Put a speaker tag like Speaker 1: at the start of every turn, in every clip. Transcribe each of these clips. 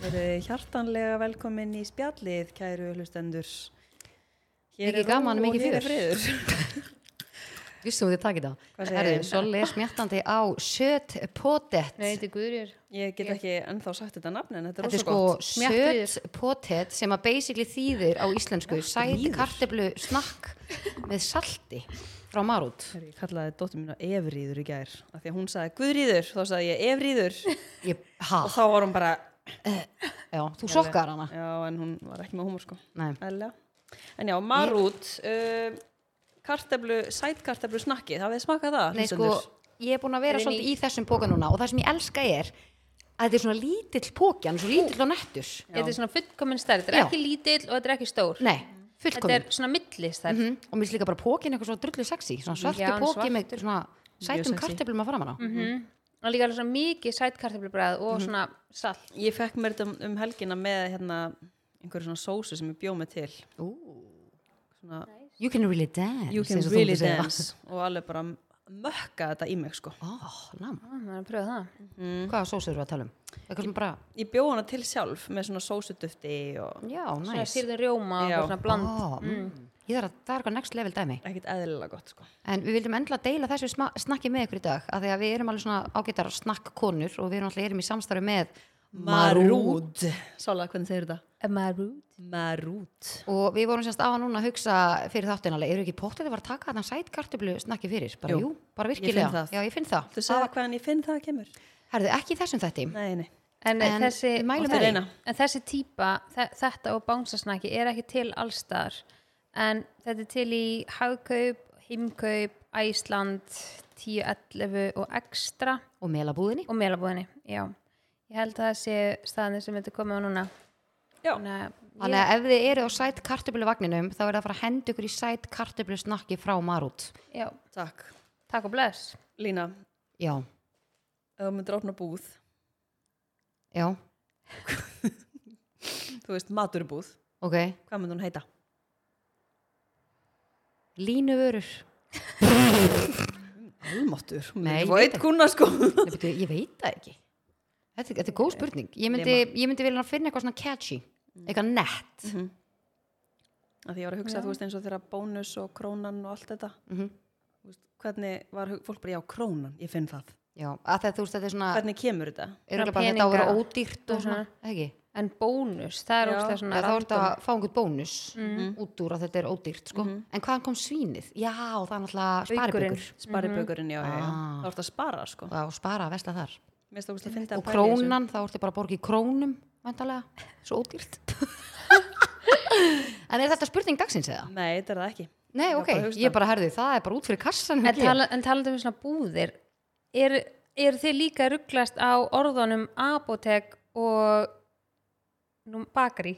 Speaker 1: Verið hjartanlega velkomin í spjallið, kæru hlustendur.
Speaker 2: Mikið gaman,
Speaker 1: ró og
Speaker 2: mikið
Speaker 1: hér er
Speaker 2: fjör.
Speaker 1: friður.
Speaker 2: Vissum þið takið það?
Speaker 1: Hvað segirðu?
Speaker 2: Herðu, Solli er smjattandi á sött potett.
Speaker 3: Nei, þetta er Guðrjör.
Speaker 1: Ég get ekki ennþá sagt þetta nafn en þetta er
Speaker 2: Þetta er
Speaker 1: rosa
Speaker 2: sko
Speaker 1: gott.
Speaker 3: Smjattviður.
Speaker 2: sött potett sem að basically þýðir á íslensku sæt
Speaker 1: Smjattviður.
Speaker 2: karteblu snakk með salti frá marút.
Speaker 1: Herri, Ég kallaði dóttir mín á Evríður í gær. Af því að hún sagði Guðríður, þá sagði ég Evríður.
Speaker 2: Ég, ha,
Speaker 3: Oh.
Speaker 1: og þá var hún bara...
Speaker 2: já, þú sokkar hana.
Speaker 1: Já, en hún var ekki með húmor sko.
Speaker 2: Nei,
Speaker 1: Ælega. En já, marút, uh, kartablu, sætkartablu snakki, það við smakað það.
Speaker 2: Nei sko,
Speaker 1: hlustendur?
Speaker 2: ég er búin að vera
Speaker 3: Þetta er
Speaker 2: svolítið í þessum póka núna og það sem ég elska er að þetta er svona lítill póki, hann er svo lítill og nettur.
Speaker 3: Þetta er svona fullkominn stærð. Þetta er
Speaker 2: Já.
Speaker 3: ekki lítill og þetta er ekki stór.
Speaker 2: Nei,
Speaker 3: Þetta
Speaker 2: fullkomin.
Speaker 3: er svona millistærð.
Speaker 2: Mhm, og mér finnst líka bara pókin eitthvað svona drullu sexy svona svartu
Speaker 3: Já, hann
Speaker 2: póki
Speaker 3: svartur.
Speaker 2: með svona sætum
Speaker 1: sexy.
Speaker 2: karteplum að framan á
Speaker 3: Mhm. Og líka alveg svona mikið sætkartöflubræð
Speaker 2: Mhm.
Speaker 3: og svona salt.
Speaker 1: Ég fekk mér þetta um, um helgina með hérna einhverju svona sósu sem ég bjóð mig til. Svona,
Speaker 2: you can really dance
Speaker 1: you can
Speaker 2: eins og þú
Speaker 1: really
Speaker 2: myndir segja.
Speaker 1: dance og alveg bara mökka þetta í mig sko
Speaker 2: oh, nam.
Speaker 3: Ah, maður er að pröfa það.
Speaker 1: Mm.
Speaker 2: hvaða sós eru að tala um eitthvað svona bara,
Speaker 1: ég bjóð hana til sjálf með svona sósudufti og
Speaker 2: já,
Speaker 3: Svona
Speaker 2: næs
Speaker 3: sýrðin rjóma
Speaker 1: Já.
Speaker 3: og svona bland.
Speaker 2: oh, mm. ég þarf að það er eitthvað next level dæmi
Speaker 1: ekkert eðlilega gott sko
Speaker 2: en við vildum endla deila þessu sma- snakki með ykkur í dag af því að við erum alveg svona ágættar snakkkonur og við erum alltaf erum í samstarfi með Marút
Speaker 1: Sála, hvernig segir þetta?
Speaker 3: Marút.
Speaker 1: Marút
Speaker 2: og við vorum sérst á núna að hugsa fyrir þáttinn alveg, eru ekki póttið að vera að taka þarna sætkartöflu snakki fyrir, bara jú,
Speaker 1: Jú.
Speaker 2: bara
Speaker 1: Ég finn
Speaker 2: virkilega
Speaker 1: það.
Speaker 2: já, ég finn það,
Speaker 1: Þú segir hvaðan ég finn það kemur?
Speaker 2: herðu ekki í þessum þætti
Speaker 1: Nei, nei
Speaker 3: En, eh,
Speaker 2: En
Speaker 3: þessi,
Speaker 2: við mælum
Speaker 1: Mátti með því. reyna.
Speaker 3: en þessi típa, þe þetta og bánsasnaki er ekki til allstar en þetta er til í hagkaup, himkaup, Æsland, 1011 og ekstra
Speaker 2: og melabúðinni
Speaker 3: og meilabúðinni, já. Ég held að það sé staðin sem þetta komið á núna.
Speaker 1: Já,
Speaker 3: Þannig að
Speaker 2: Þannig að ef þið eru á sætt kartöflu vagninum þá er það að fara að henda ykkur í sætt kartöflu snakki frá Marút.
Speaker 3: ég- já,
Speaker 1: takk
Speaker 3: takk og bless.
Speaker 1: Lína,
Speaker 2: Já,
Speaker 1: ef þú myndir opna búð
Speaker 2: já,
Speaker 1: Þú veist, maturbúð
Speaker 2: ok.
Speaker 1: Hvað myndir hún heita?
Speaker 2: Línuvörur.
Speaker 1: Almatur
Speaker 2: Nei, ég veit
Speaker 1: Veit kuna sko
Speaker 2: Nei, byrju, ég veit það ekki. Þetta, þetta er góð spurning. Ég myndi, ég myndi vilja finna eitthvað svona catchy, eitthvað nett.
Speaker 1: Af Því ég var að hugsa, þú veist, eins og þeirra bónus og krónan og allt þetta
Speaker 2: Mhm.
Speaker 1: Þú veist, Hvernig var hug- fólk bara, já, krónan, ég finn það
Speaker 2: Já, að það, þú veist þetta er svona,
Speaker 1: Hvernig kemur þetta?
Speaker 2: er
Speaker 3: Svona
Speaker 2: bara þetta á að vera
Speaker 3: peninga.
Speaker 2: ódýrt og svona, ekki?
Speaker 3: En bónus, það er
Speaker 1: Já.
Speaker 3: óslega svona
Speaker 2: Eða þá er þetta
Speaker 3: random.
Speaker 2: að fá einhvern bónus út úr að þetta er ódýrt, sko. En hvaðan kom svínið? Já, það er náttúrulega
Speaker 3: Aukurinn.
Speaker 2: sparibökur.
Speaker 1: Sparibökurinn, já, já, já.
Speaker 2: Ah.
Speaker 1: Þá ertu að spara, sko.
Speaker 2: Já, spara að vesla þar.
Speaker 1: Mér stókst að finna
Speaker 2: og krónan, þá ertu bara að borga í krónum vandalega, svo ódýrt en er þetta spurning dagsins eða?
Speaker 1: Nei, þetta er það ekki.
Speaker 2: Nei,
Speaker 1: Ég var
Speaker 2: ok,
Speaker 1: bara að hugsa
Speaker 2: ég bara herði það er bara út fyrir kassan
Speaker 3: En, tala, en talandi um svona búðir er, er þið líka rugglast á orðunum apotek og nú, bakari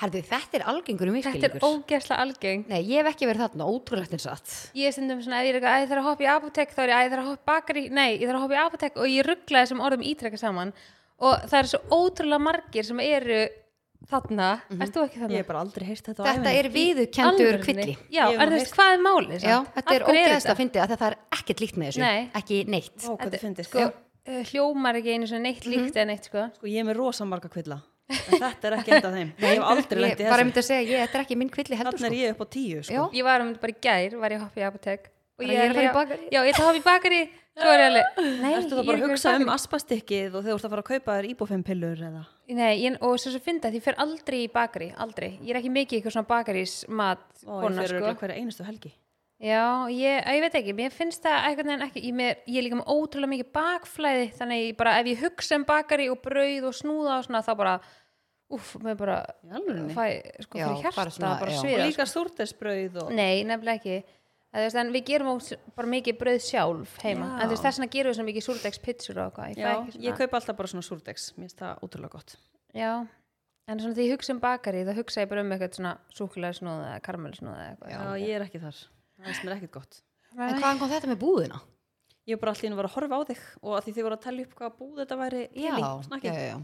Speaker 2: herði, þetta er algengur um
Speaker 3: Þetta er ógeðslega algeng
Speaker 2: Nei, ég hef ekki verið þarna, ótrúlegt eins að
Speaker 3: Ég er stundum svona, ef ég er eitthvað, að ég þarf að hoppa í apotek þá er ég að ég þarf að hoppa í bakari, nei, ég þarf að hoppa í apotek og ég ruggla þessum orðum ítreka saman og það eru svo ótrúlega margir sem eru þarna, ert þú ekki
Speaker 1: Ég
Speaker 3: þarna?
Speaker 1: hef bara aldrei heyrt þetta á
Speaker 2: Þetta er viðukendur
Speaker 3: Alvörunni?
Speaker 2: kvilli
Speaker 3: Já,
Speaker 1: Ég hef
Speaker 3: er
Speaker 1: nú
Speaker 3: þú
Speaker 1: heyrt-
Speaker 3: veist, hvað er málið?
Speaker 2: Já,
Speaker 3: samt?
Speaker 2: þetta er
Speaker 3: Af hverju
Speaker 2: ógeðast
Speaker 3: þetta?
Speaker 2: að fyndi að það er ekkert líkt með þessu,
Speaker 3: Nei.
Speaker 2: ekki neitt
Speaker 1: Ó, hvað þið fyndið.
Speaker 3: Sko, uh, hljómar ekki einu svona neitt líkt eða neitt, sko
Speaker 1: Sko, ég er með rosa marga kvilla. En þetta er ekki enda þeim. Ég hef aldrei
Speaker 2: Ég
Speaker 1: lendið
Speaker 2: bara
Speaker 1: þessu.
Speaker 2: myndi að segja, ég, þetta er ekki minn kvilli heldur
Speaker 1: Þannig
Speaker 2: sko.
Speaker 1: er ég upp á tíu, sko.
Speaker 2: Já.
Speaker 3: ég var um bara í gær, var ég að hoppa í apotek og
Speaker 2: Bara, ég er að fara í
Speaker 3: alveg-
Speaker 2: bakarí.
Speaker 3: já, ég ætla að hoppa í bakari, svo er ég alveg nei,
Speaker 1: Ertu
Speaker 3: ég
Speaker 1: þá bara
Speaker 3: er ekki
Speaker 1: að
Speaker 3: að
Speaker 1: hugsa
Speaker 3: fara í
Speaker 1: um aspastykkið og þegar þú ert að fara að kaupa þér íbúfempillur eða?
Speaker 3: bakarí. nei, ég, og svo svo fyndi að ég fer aldrei í bakari aldrei, ég er ekki mikið eitthvað svona bakarís mat
Speaker 1: Ó, ég
Speaker 3: kona,
Speaker 1: fyrir
Speaker 3: sko
Speaker 1: sko. hverja einustu helgi.
Speaker 3: já, ég, ég veit ekki, mér finnst það eitthvað en ekki, ég, mér, ég er líka með ótrúlega mikið bakflæði, þannig að ég bara ef ég hugsa um bakari og brauð og snúða og svona þá bara, uff, mér bara
Speaker 1: Í alvörunni?
Speaker 3: fæ, sko,
Speaker 2: Já,
Speaker 3: fyrir hjarta
Speaker 2: bara
Speaker 3: bara,
Speaker 2: svona, já.
Speaker 1: Og
Speaker 3: sviða, sko.
Speaker 1: líka súrtesbrauð og...
Speaker 3: Nei, nefnilega ekki Eða, þú veist, en við gerum ós- bara mikið brauð sjálf heima
Speaker 1: Já.
Speaker 3: en þú veist, þess vegna gerum við svona mikið súrdegspitsur og eitthvað
Speaker 1: Já,
Speaker 3: fæ ekki
Speaker 1: ég
Speaker 3: svona-
Speaker 1: kaupa alltaf bara svona súrtegs. Mér finnst það útrúlega gott.
Speaker 3: já, en svona því ég hugsa um bakari þá hugsa ég bara um eitthvað svona súkulegsnóð eða karmelisnóð eða eitthvað
Speaker 1: Já, ég er ekki þar. Það finnst mér ekkert gott.
Speaker 2: En hvaðan kom þetta með búðina?
Speaker 1: Ég var bara allir að vera að horfa á þig og að því þið voru að tellja upp hvaða búð þetta væri til í
Speaker 2: já,
Speaker 1: snakkið.
Speaker 2: já, já.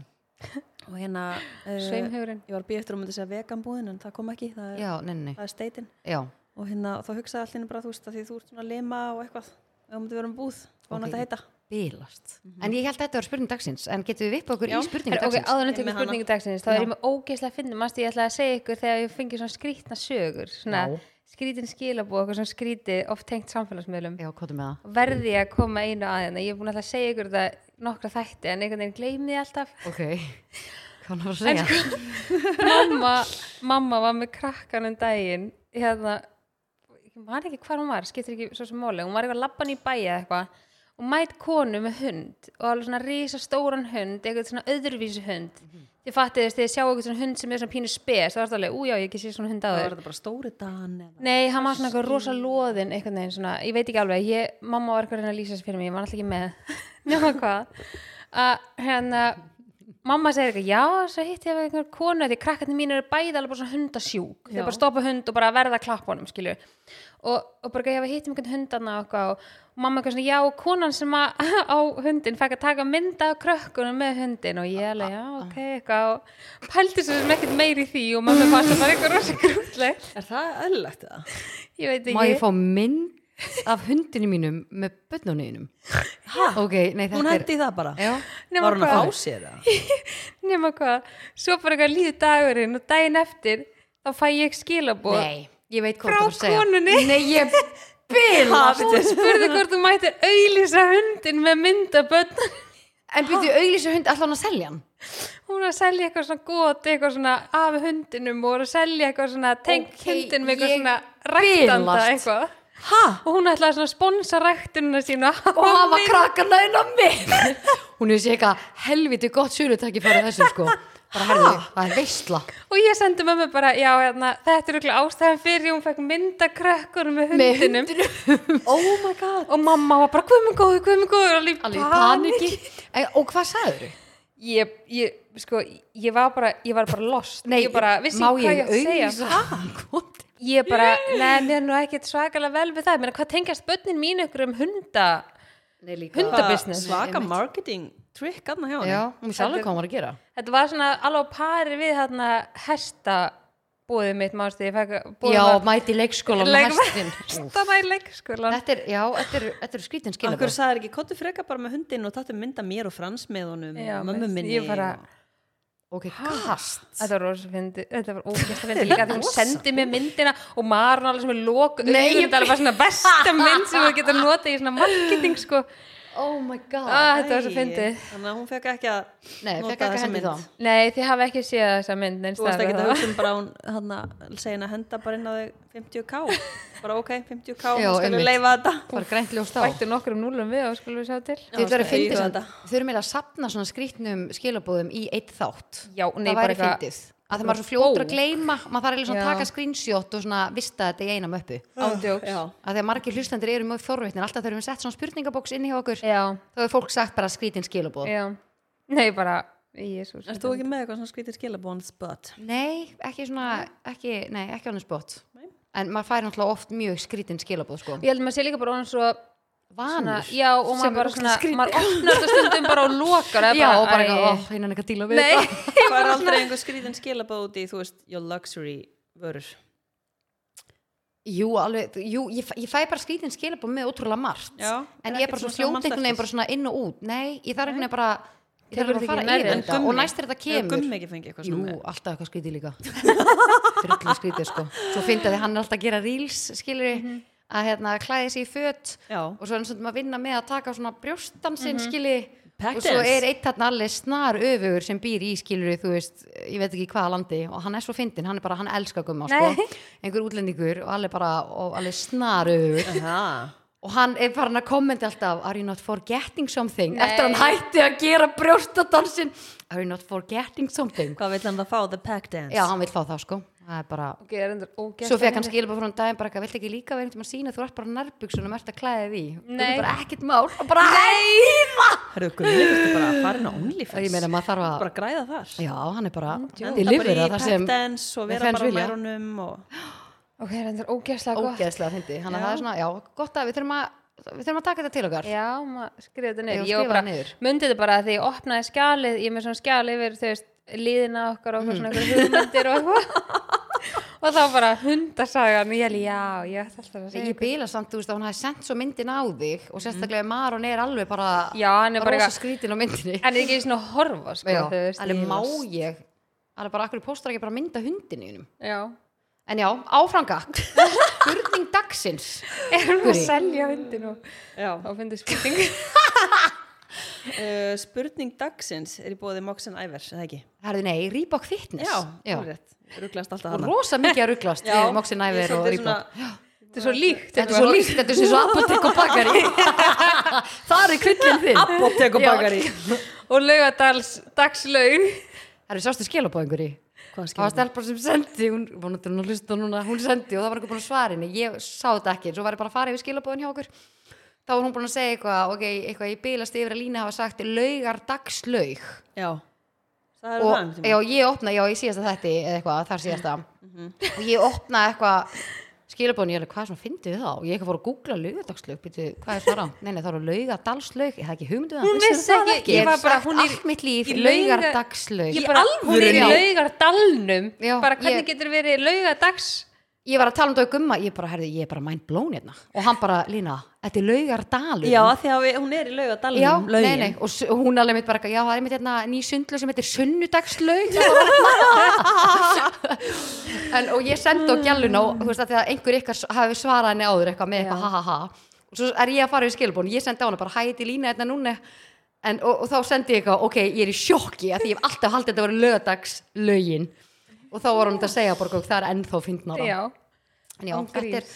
Speaker 1: Og hérna, uh,
Speaker 3: sveimhugurinn
Speaker 1: ég var að býja eftir að hún myndi segja veganbúðin en það kom ekki, það er,
Speaker 2: já, nei, nei,
Speaker 1: það er steitin.
Speaker 2: já
Speaker 1: Og hérna, þá hugsaði allir bara, þú veist, að því þú ert svona lema og eitthvað, ef hún myndi vera um búð, hvað hún
Speaker 2: Ok.
Speaker 1: ætti að heita.
Speaker 2: bilast en ég held að þetta var spurning dagsins en getum við vippað okkur
Speaker 1: Já.
Speaker 2: í spurning
Speaker 3: Herra, Mhm. ok,
Speaker 2: dagsins
Speaker 3: áður en
Speaker 1: Ég er
Speaker 3: tökum
Speaker 1: með hana.
Speaker 3: spurningu dagsins þá er ég með ógeðslega að finna, mástu ég ætla að segja ykkur þegar ég fengi svona skrítna sögur svona
Speaker 2: Já.
Speaker 3: skrítin skilabóð, eitthvað svona skríti oft tengt samfélagsmiðlum
Speaker 2: já, kóttum með það
Speaker 3: verði ég að koma einu að hérna ég er búin að ætla að segja ykkur þetta nokkra þætti en einhvern veginn gleymi ég alltaf
Speaker 2: ok, hvað var að segja
Speaker 3: sko, mamma, mamma var með krakkan um daginn hérna, ég man ekki hvar hún var skiptir ekki svo sem móli, hún var eitthvað labban í bæja eitthvað og mætt konu með hund og alveg svona risa stóran hund eitthvað svona öðruvísi hund mm -hmm. þið fattið þess, þið sjáu eitthvað svona hund sem er svona pínu spes þá er þetta alveg, újá, ég hef ekki sé svona hund
Speaker 1: Það
Speaker 3: áður
Speaker 1: var þetta bara stóri dan eða
Speaker 3: Nei, hann var svona eitthvað rosa loðin einhvern veginn svona, ég veit ekki alveg, ég, mamma var eitthvað að reyna að lýsa þessu fyrir mig, ég var alltaf ekki með nema hvað að hérna, mamma segir eitthvað, já, svo hitt ég af einhver konu, því krakkarnir mín eru bæði alveg bara svona hundasjúk, þau
Speaker 1: Já.
Speaker 3: bara stoppa hund og bara verða að klappa honum, skilur og, og bara ég hef hitt um einhvern hundarna og, eitthvað og, og mamma eitthvað svona, já, og konan sem að, á hundin fæk að taka mynda af krökkunum með hundin og ég alveg, já, ok, eitthvað og pældi svo sem ekkert meiri því og mamma fannst það bara eitthvað rosa grútlegt
Speaker 1: Er það öllegt það?
Speaker 3: Ég veit ekki.
Speaker 2: má ég fá mynd af hundinu mínum með bönnunniðinum ok, nei þetta
Speaker 1: Hún
Speaker 2: er
Speaker 1: hendi í það bara
Speaker 2: já,
Speaker 3: Nema
Speaker 1: Var hún að
Speaker 3: hvað?
Speaker 1: fá sér það?
Speaker 3: Nema hvað, svo bara eitthvað líður dagurinn og daginn eftir þá fæ ég skilabóð.
Speaker 2: nei, ég veit hvað
Speaker 3: Frá
Speaker 2: þú var að segja
Speaker 3: konunni.
Speaker 2: nei, ég bilast
Speaker 3: Hún spurði hvort þú mættir auðlýsa hundin með myndabönn.
Speaker 2: en byrju auglísu hund allan að selja hann
Speaker 3: Hún var að selja eitthvað svona gott, eitthvað svona af hundinum og var að selja eitthvað svona tengt
Speaker 2: Ok,
Speaker 3: hundin með eitthvað
Speaker 2: ég
Speaker 3: svona ræktanda
Speaker 2: bilast.
Speaker 3: eitthvað.
Speaker 1: Ha?
Speaker 3: Og hún ætlaði svona að sponsa ræktunina sína.
Speaker 2: og hafa krakkan laun á mig hún hefur sér eitthvað helviti gott sjölutakki fyrir þessu sko bara herðu, það er veistla
Speaker 3: Og ég sendi mömmu bara, já, hérna, þetta er eitthvað ástæðan fyrir því hún fekk myndakrökkur með
Speaker 2: með
Speaker 3: hundinum.
Speaker 2: hundinu
Speaker 1: Oh my god
Speaker 3: Og mamma var bara, hvað minn góður, hvað minn góður, alveg
Speaker 2: alveg í
Speaker 3: panik.
Speaker 2: paniki En- og hvað sagður þau?
Speaker 3: ég, ég, sko, ég var bara ég var bara lost ég bara, vissi
Speaker 2: má
Speaker 3: ekki hvað ég
Speaker 2: ég
Speaker 3: að segja
Speaker 2: auðvisa
Speaker 3: ég bara, neða, mér er nú ekkert svakalega vel við það, ég meina, hvað tengjast bönnin mín ykkur um hunda
Speaker 1: Hvað
Speaker 3: hundabusiness,
Speaker 1: Svaka marketing trick aðna hjá henni
Speaker 2: já, hún vissi alveg hvað hún var að gera
Speaker 3: þetta var svona alveg á pari við þarna hesta búið mitt mástu, ég fæk
Speaker 2: já, mæti leikskólan og
Speaker 3: Leik-
Speaker 2: hestin
Speaker 3: stanna í leikskólan
Speaker 2: þetta er, já, þetta er, þetta er skrítin
Speaker 1: Akkur
Speaker 2: skilabóð
Speaker 1: sagði ekki, kottu freka bara með hundin og tattu mynda mér og frans með honum
Speaker 3: Já,
Speaker 1: og mömmu
Speaker 3: veist,
Speaker 1: minni
Speaker 3: ég bara-
Speaker 1: og-
Speaker 2: ok, kast
Speaker 3: Þetta var rosa fyndi, þetta var ógæsta fyndi líka þegar hún sendi mér myndina og maður alveg sem er lok
Speaker 2: Nei, ég-
Speaker 3: augun, þetta var svona besta mynd sem þú getur notað í svona marketing sko
Speaker 2: oh my god
Speaker 3: ah, Þetta var svo
Speaker 1: Æi,
Speaker 3: fyndið
Speaker 1: Þannig að hún fekk ekki að
Speaker 2: nei,
Speaker 1: nota
Speaker 2: fekk ekki að
Speaker 1: þessa
Speaker 2: hendi
Speaker 1: mynd.
Speaker 2: þá
Speaker 3: Nei, þið hafa ekki séð þessa mynd neins
Speaker 1: Þú varst
Speaker 3: staðar
Speaker 1: ekki
Speaker 3: á
Speaker 1: að
Speaker 3: það.
Speaker 1: hugsa um bara hún hann að segja henni að henda bara inn á þig 50k bara ok, 50k,
Speaker 2: Já,
Speaker 1: hún skulle
Speaker 2: einmitt.
Speaker 1: leifa þetta
Speaker 2: bara grænt ljóst á
Speaker 3: Bættu nokkrum núlum við og skulum við sjá til
Speaker 1: Já,
Speaker 2: Þið verður að
Speaker 1: sko,
Speaker 2: fyndi
Speaker 1: íhuga
Speaker 2: samt,
Speaker 1: þetta.
Speaker 2: þau eru meira að sapna svona skrítnum skilabóðum í eitt þátt.
Speaker 3: Já, nei,
Speaker 2: það
Speaker 3: bara
Speaker 2: væri
Speaker 3: eitthvað-
Speaker 2: fyndið. Að það maður er svo fljótur að
Speaker 3: Bók.
Speaker 2: gleyma, maður þarf eiginlega svona
Speaker 3: Já.
Speaker 2: að taka screenshot og svona vista þetta í einam uppu.
Speaker 3: Ándjóks
Speaker 1: Ah, Já,
Speaker 2: Að því að margir hlustendur eru mjög forveitnir, alltaf þau eru sett svona spurningabóks inn hjá okkur,
Speaker 3: Já,
Speaker 2: þá hefur fólk sagt bara skrítin skilabóð.
Speaker 3: já Nei, bara, jésús
Speaker 1: erst þú ekki með eitthvað svona skvítir skilabón spött?
Speaker 2: Nei, ekki svona, ekki, nei, ekki annars bótt.
Speaker 1: Nei.
Speaker 2: En maður fær náttúrulega oft mjög skrítin skilabóð, sko.
Speaker 3: Ég held að maður sé líka bara orðin svo svona,
Speaker 2: Vanur.
Speaker 3: Já, og
Speaker 2: Sem er
Speaker 3: maður bara
Speaker 2: ógeðslega
Speaker 3: svona Maður opnar þetta stundum bara og lokar það er
Speaker 2: Já, og bara
Speaker 3: æ,
Speaker 2: eitthvað, ó, hinn er ekki að díla við
Speaker 3: Nei,
Speaker 2: þetta.
Speaker 1: Hvað er aldrei einhver skvítin skilabón út í, þú veist, your luxury vörur?
Speaker 2: Jú, alveg, jú, ég, fæ- ég fæ bara skrítin skilabóð með ótrúlega margt.
Speaker 1: Já,
Speaker 2: en
Speaker 1: er
Speaker 2: ég er
Speaker 1: ekkert
Speaker 2: bara svo
Speaker 1: svona sem
Speaker 2: fljótt
Speaker 1: manst
Speaker 2: einhvern veginn
Speaker 1: eftir.
Speaker 2: bara svona inn og út nei, ég þarf einhvern veginn bara ég þarf
Speaker 3: Tekur
Speaker 2: bara að
Speaker 3: þetta
Speaker 2: fara
Speaker 3: ekki
Speaker 2: yfir
Speaker 3: nærri
Speaker 1: En
Speaker 2: þetta
Speaker 1: gummi?
Speaker 2: og næst er þetta
Speaker 1: Hefur
Speaker 2: kemur
Speaker 1: Gummi ekki fengið eitthvað
Speaker 2: jú,
Speaker 1: svona
Speaker 2: alltaf eitthvað skrítið líka drullu skrítið sko svo fyndið þið hann er alltaf að gera reels skilur mm
Speaker 1: Mhm.
Speaker 2: að hérna klæði sig í föt
Speaker 1: Já,
Speaker 2: og svo er hann svona að vinna með að taka svona brjóstansinn
Speaker 3: Mhm.
Speaker 2: mm
Speaker 1: Pack
Speaker 2: og svo
Speaker 1: dance.
Speaker 2: er eitt þarna alveg snar öfugur sem býr í skilur þú veist, ég veit ekki hvaða landi og hann er svo fyndin, hann er bara, hann elskar gumma sko.
Speaker 3: Nei.
Speaker 2: einhver útlendingur og alveg bara og alveg snar öfugur
Speaker 1: Aha.
Speaker 2: og hann er farin að kommenta alltaf are you not forgetting something eftir hann hætti að gera brjóstadansin are you not forgetting something
Speaker 1: Hvað vill hann það fá, the pack dance?
Speaker 2: já, hann vil fá það sko það er bara
Speaker 3: Ok, það er endur ógæst
Speaker 2: Svo fekk hann skilabóð frá hann daginn bara eitthvað, vilt ekki líka vera einhvern veginn að sína, þú ert bara nærbuksunum, ert að klæða því. Þú
Speaker 3: Nei.
Speaker 2: er bara ekkert mál og bara æða.
Speaker 1: Herðu, gummi, þetta bara að fara inn á
Speaker 2: Og ég
Speaker 1: OnlyFans
Speaker 2: meina maður þarf að,
Speaker 1: Bara græða þar
Speaker 2: já, hann er bara,
Speaker 1: Henda
Speaker 2: þið lifir
Speaker 1: bara í
Speaker 2: það
Speaker 1: pack
Speaker 2: sem
Speaker 1: dance og
Speaker 2: við
Speaker 1: vera
Speaker 2: fans
Speaker 1: bara á
Speaker 2: vilja.
Speaker 1: mærunum og
Speaker 3: Ok, það er endur ógæstlega gott
Speaker 2: ógeðslega fyndi. Þannig að það er svona, já, gott að við þurfum að, við þurfum að taka þetta til okkar.
Speaker 3: Já, maður skrifa þetta
Speaker 2: Já,
Speaker 3: niður
Speaker 2: skrifa
Speaker 3: Ég var bara,
Speaker 2: niður.
Speaker 3: myndi þetta bara að því ég opnaði skjalið Ég er með svona skjal yfir, þú veist, líðina okkar og eitthvað svona einhverjar hugmyndir og eitthvað og þá bara hundasagan og ég held, já, ég ætti alltaf að segja
Speaker 2: Ég bila samt, þú veist, að hún hafi sendt svo myndin á þig og sérstaklega mm. Maron er alveg bara
Speaker 3: Mhm. Já, hann er bara
Speaker 2: rosa
Speaker 3: eitthvað-
Speaker 2: skrítin á myndinni
Speaker 3: en er ekki svona að horfa sko,
Speaker 2: Já,
Speaker 3: þú veist,
Speaker 2: alveg
Speaker 3: ég-
Speaker 2: má ég alveg bara, akkur póstar ekki bara mynda hundinu innum
Speaker 3: já,
Speaker 2: En já, áfranga Spurning dagsins
Speaker 3: er hún að
Speaker 2: Guri.
Speaker 3: selja hundin og
Speaker 1: Já.
Speaker 3: þá fundið spurning
Speaker 1: Uh, spurning dagsins er í bóði Moxen Ævers, eða ekki?
Speaker 2: Herðu nei, Reebok Fitness
Speaker 1: Já,
Speaker 2: já.
Speaker 1: alveg rétt. Ruglast alltaf
Speaker 2: Og
Speaker 1: hana.
Speaker 2: rosa mikið að rugglast
Speaker 1: Já.
Speaker 2: við Moxie Næver
Speaker 1: Ég er
Speaker 2: og
Speaker 1: svolítið
Speaker 2: Reebok
Speaker 1: svona-
Speaker 3: þetta er svo líkt
Speaker 2: Þetta er svo líkt, þetta er svo svo apotek og bakari Það er krullin þinn
Speaker 1: Apotek og
Speaker 2: Já.
Speaker 1: bakari.
Speaker 3: og laugadals dagslaug
Speaker 2: Herðu, sástu skilabóðingur í?
Speaker 1: Hvað
Speaker 2: Það var
Speaker 1: skilur?
Speaker 2: stelpar sem sendi, hún vonandi er hún að hlusta núna, hún sendi og það var eitthvað búin að svara henni, ég sá þetta ekki, svo var ég bara að fara yfir skilabóðin hjá okkur. Þá var hún búin að segja eitthvað, ok, eitthvað ég bilast yfir að Lína hafa sagt laugar dagslaug.
Speaker 1: Já. Það er það.
Speaker 2: Og já, ég opna, já, ég síðast að þetta eða eitthvað, þar síðast að. Og ég opna eitthvað skilabóðin, ég er alveg, hvað er svona, fyndið þið þá? Ég eitthvað fór að googla laugardagslaug, býtu, hvað er það á? Nei, nei, það eru laugadalslaug, ég hafði ekki hugmyndu það.
Speaker 3: Hún vissi
Speaker 2: það
Speaker 3: ekki, ég
Speaker 2: Ég
Speaker 3: var
Speaker 2: hef
Speaker 3: bara,
Speaker 2: sagt
Speaker 3: hún er
Speaker 2: allt mitt líf,
Speaker 3: í lauga-
Speaker 2: laugardagslaug.
Speaker 3: Ég bara, hún er í
Speaker 1: alvörunni?
Speaker 3: laugardalnum
Speaker 2: Já,
Speaker 3: bara hvernig
Speaker 2: ég-
Speaker 3: getur verið laugadags
Speaker 2: ég var að tala um þetta við gumma ég bara, herði, ég er bara mind blown hérna og hann bara, Lína, þetta er laugardalur
Speaker 1: Já, af því að við- hún er í
Speaker 3: um
Speaker 1: laugadalunum.
Speaker 2: já nei, nei, og s- og hún alveg mitt bara eitthvað, já, það er mitt hérna ný sundlu sem heitir sunnudagslaug Það var bara- en, og ég sendi á gjalluna og þú veist að þegar einhver ykkar s- hafi svarað henni áður eitthvað með eitthvað, ha ha ha og svo er ég að fara við skilbón, ég sendi á hana bara hæti Lína hérna núna en, og, og þá sendi ég eitthvað, ok, ég er í sjokki af því ég hef alltaf haldið að þetta voru lögadagslaugin og þá var hún þetta að segja bara, það er ennþá fyndnara
Speaker 3: já.
Speaker 2: En Já,
Speaker 3: Án
Speaker 2: þetta er,
Speaker 3: gríns.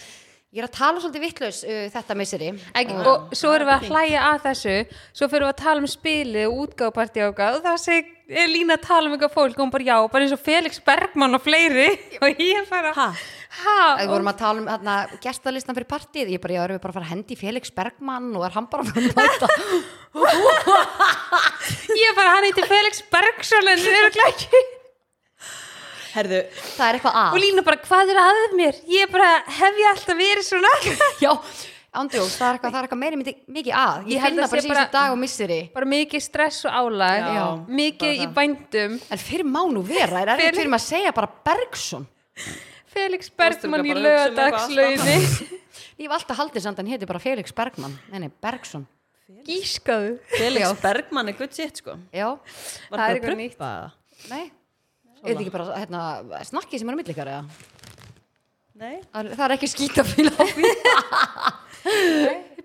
Speaker 2: ég er að tala svolítið vittlaus uh, þetta misseri.
Speaker 3: Ekki,
Speaker 2: Ah.
Speaker 3: og svo erum við að hlæja að þessu svo fyrir við að tala um spili og útgáðparti og eitthvað og það segir er Lína að tala um eitthvað fólk og hún bara já, bara eins og Felix Bergmann og fleiri og ég bara
Speaker 1: Ha?
Speaker 3: ha
Speaker 2: Við
Speaker 3: og
Speaker 2: vorum að tala um hérna, gestalistan fyrir partíð, ég bara, já, erum við bara að fara að hendi í Felix Bergmann og er hann bara að fara að mæta.
Speaker 3: ég bara hann heitir Felix Bergson en er ekki
Speaker 1: Herðu,
Speaker 2: það er eitthvað
Speaker 3: og
Speaker 2: að.
Speaker 3: Lína bara hvað er aðeð mér ég bara hef ég alltaf verið svona
Speaker 2: Já, Andjós, það er eitthvað, það er eitthvað meiri myndi, mikið að.
Speaker 3: Ég
Speaker 2: Ég
Speaker 3: held
Speaker 2: finna
Speaker 3: að
Speaker 2: bara
Speaker 3: sé
Speaker 2: síðan
Speaker 3: bara-
Speaker 2: dag og misseri.
Speaker 3: bara mikið stress og álag
Speaker 1: Já,
Speaker 3: mikið í bændum
Speaker 2: En fyrir má nú vera, er
Speaker 3: Felix-
Speaker 2: erfitt fyrir maður að segja bara Bergson.
Speaker 3: Felix Bergmann í
Speaker 1: Þú varst örugglega bara að hugsa um eitthvað allt
Speaker 3: lögadagslauginni
Speaker 2: Ég hef alltaf haldið samt, að hann heiti bara Felix Bergmann. Nei, nei, Bergson.
Speaker 3: gískaðu
Speaker 1: Felix Bergmann er gutt sitt, sko.
Speaker 2: Já,
Speaker 1: Var
Speaker 3: Það er
Speaker 1: það að
Speaker 3: eitthvað nýtt.
Speaker 1: prumpa það?
Speaker 2: nei. Er þetta ekki bara, hérna, snakkið sem er á milli ykkar, eða?
Speaker 1: Nei.
Speaker 2: Það er- það er ekki skítafíl á því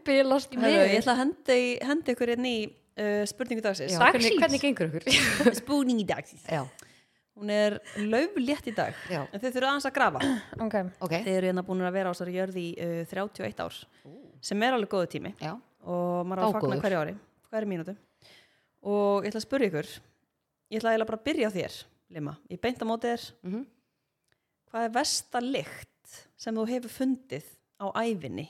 Speaker 2: Bilast
Speaker 1: Herðu, ég ætla að henda í- henda ykkur einn í uh, spurningu dagsins.
Speaker 2: Já,
Speaker 3: Dagsins.
Speaker 2: hvernig, hvernig gengur ykkur?
Speaker 1: Spurningi dagsins.
Speaker 2: Já,
Speaker 1: Hún er löflétt í dag.
Speaker 2: Já.
Speaker 1: En þið þurfa aðeins að grafa.
Speaker 3: okay.
Speaker 2: ok
Speaker 1: Þið eru hérna búin að vera á þessari jörði í uh, 31 ár. Sem er alveg góðu tími.
Speaker 2: Já,
Speaker 1: og maður á að fagna
Speaker 2: Dágóður.
Speaker 1: hverju ári hverju mínútu og ég ætla að spyrja ykkur ég ætla að bara að byrja á þér Lima, ég beint á móti þér
Speaker 2: Mhm.
Speaker 1: hvað er versta lykt sem þú hefur fundið á ævinni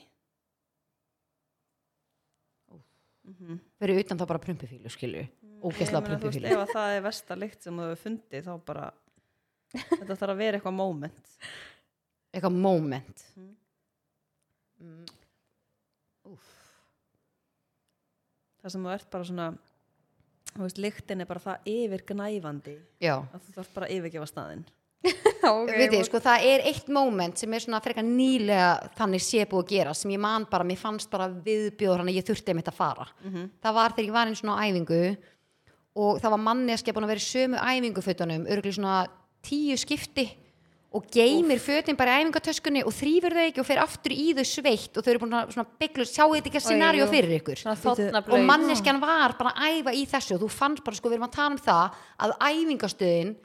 Speaker 2: verið utan þá bara prumpifílu skilju
Speaker 1: Ég meina, Mm. þú
Speaker 2: Ógæsla
Speaker 1: veist,
Speaker 2: prumpifílu
Speaker 1: ef að það er versta lykt sem þú hefur fundið þá bara þetta þarf að vera eitthvað moment
Speaker 2: Eitthvað moment
Speaker 1: Mhm.
Speaker 2: Mm. Úff.
Speaker 1: það sem þú ert bara svona þú veist, lyktin er bara það yfirgnæfandi
Speaker 2: Já
Speaker 1: að þú þarf bara að yfirgefa staðinn
Speaker 3: okay,
Speaker 2: Við þið, sko, það er eitt moment sem er svona frekar nýlega þannig sé búið að gera sem ég man bara, mér fannst bara viðbjóður hann að ég þurfti einmitt að fara.
Speaker 1: Mhm.
Speaker 2: Það var þegar ég var einn svona á æfingu og það var manneskja búin að vera í sömu æfingufötunum, örgulega svona tíu skipti og geymir fötin bara í æfingatöskunni og þrýfur þau ekki og fer aftur í þau sveitt og þau eru búin að svona bygglu, sjáu þetta ekki að
Speaker 3: Oj,
Speaker 2: scenaríu
Speaker 3: jú.
Speaker 2: fyrir ykkur
Speaker 3: Svona þornabraut.
Speaker 2: og manneskjan var bara að æfa í þessu og þú fannst bara, sko, við erum að tala um það að æfingastöðin,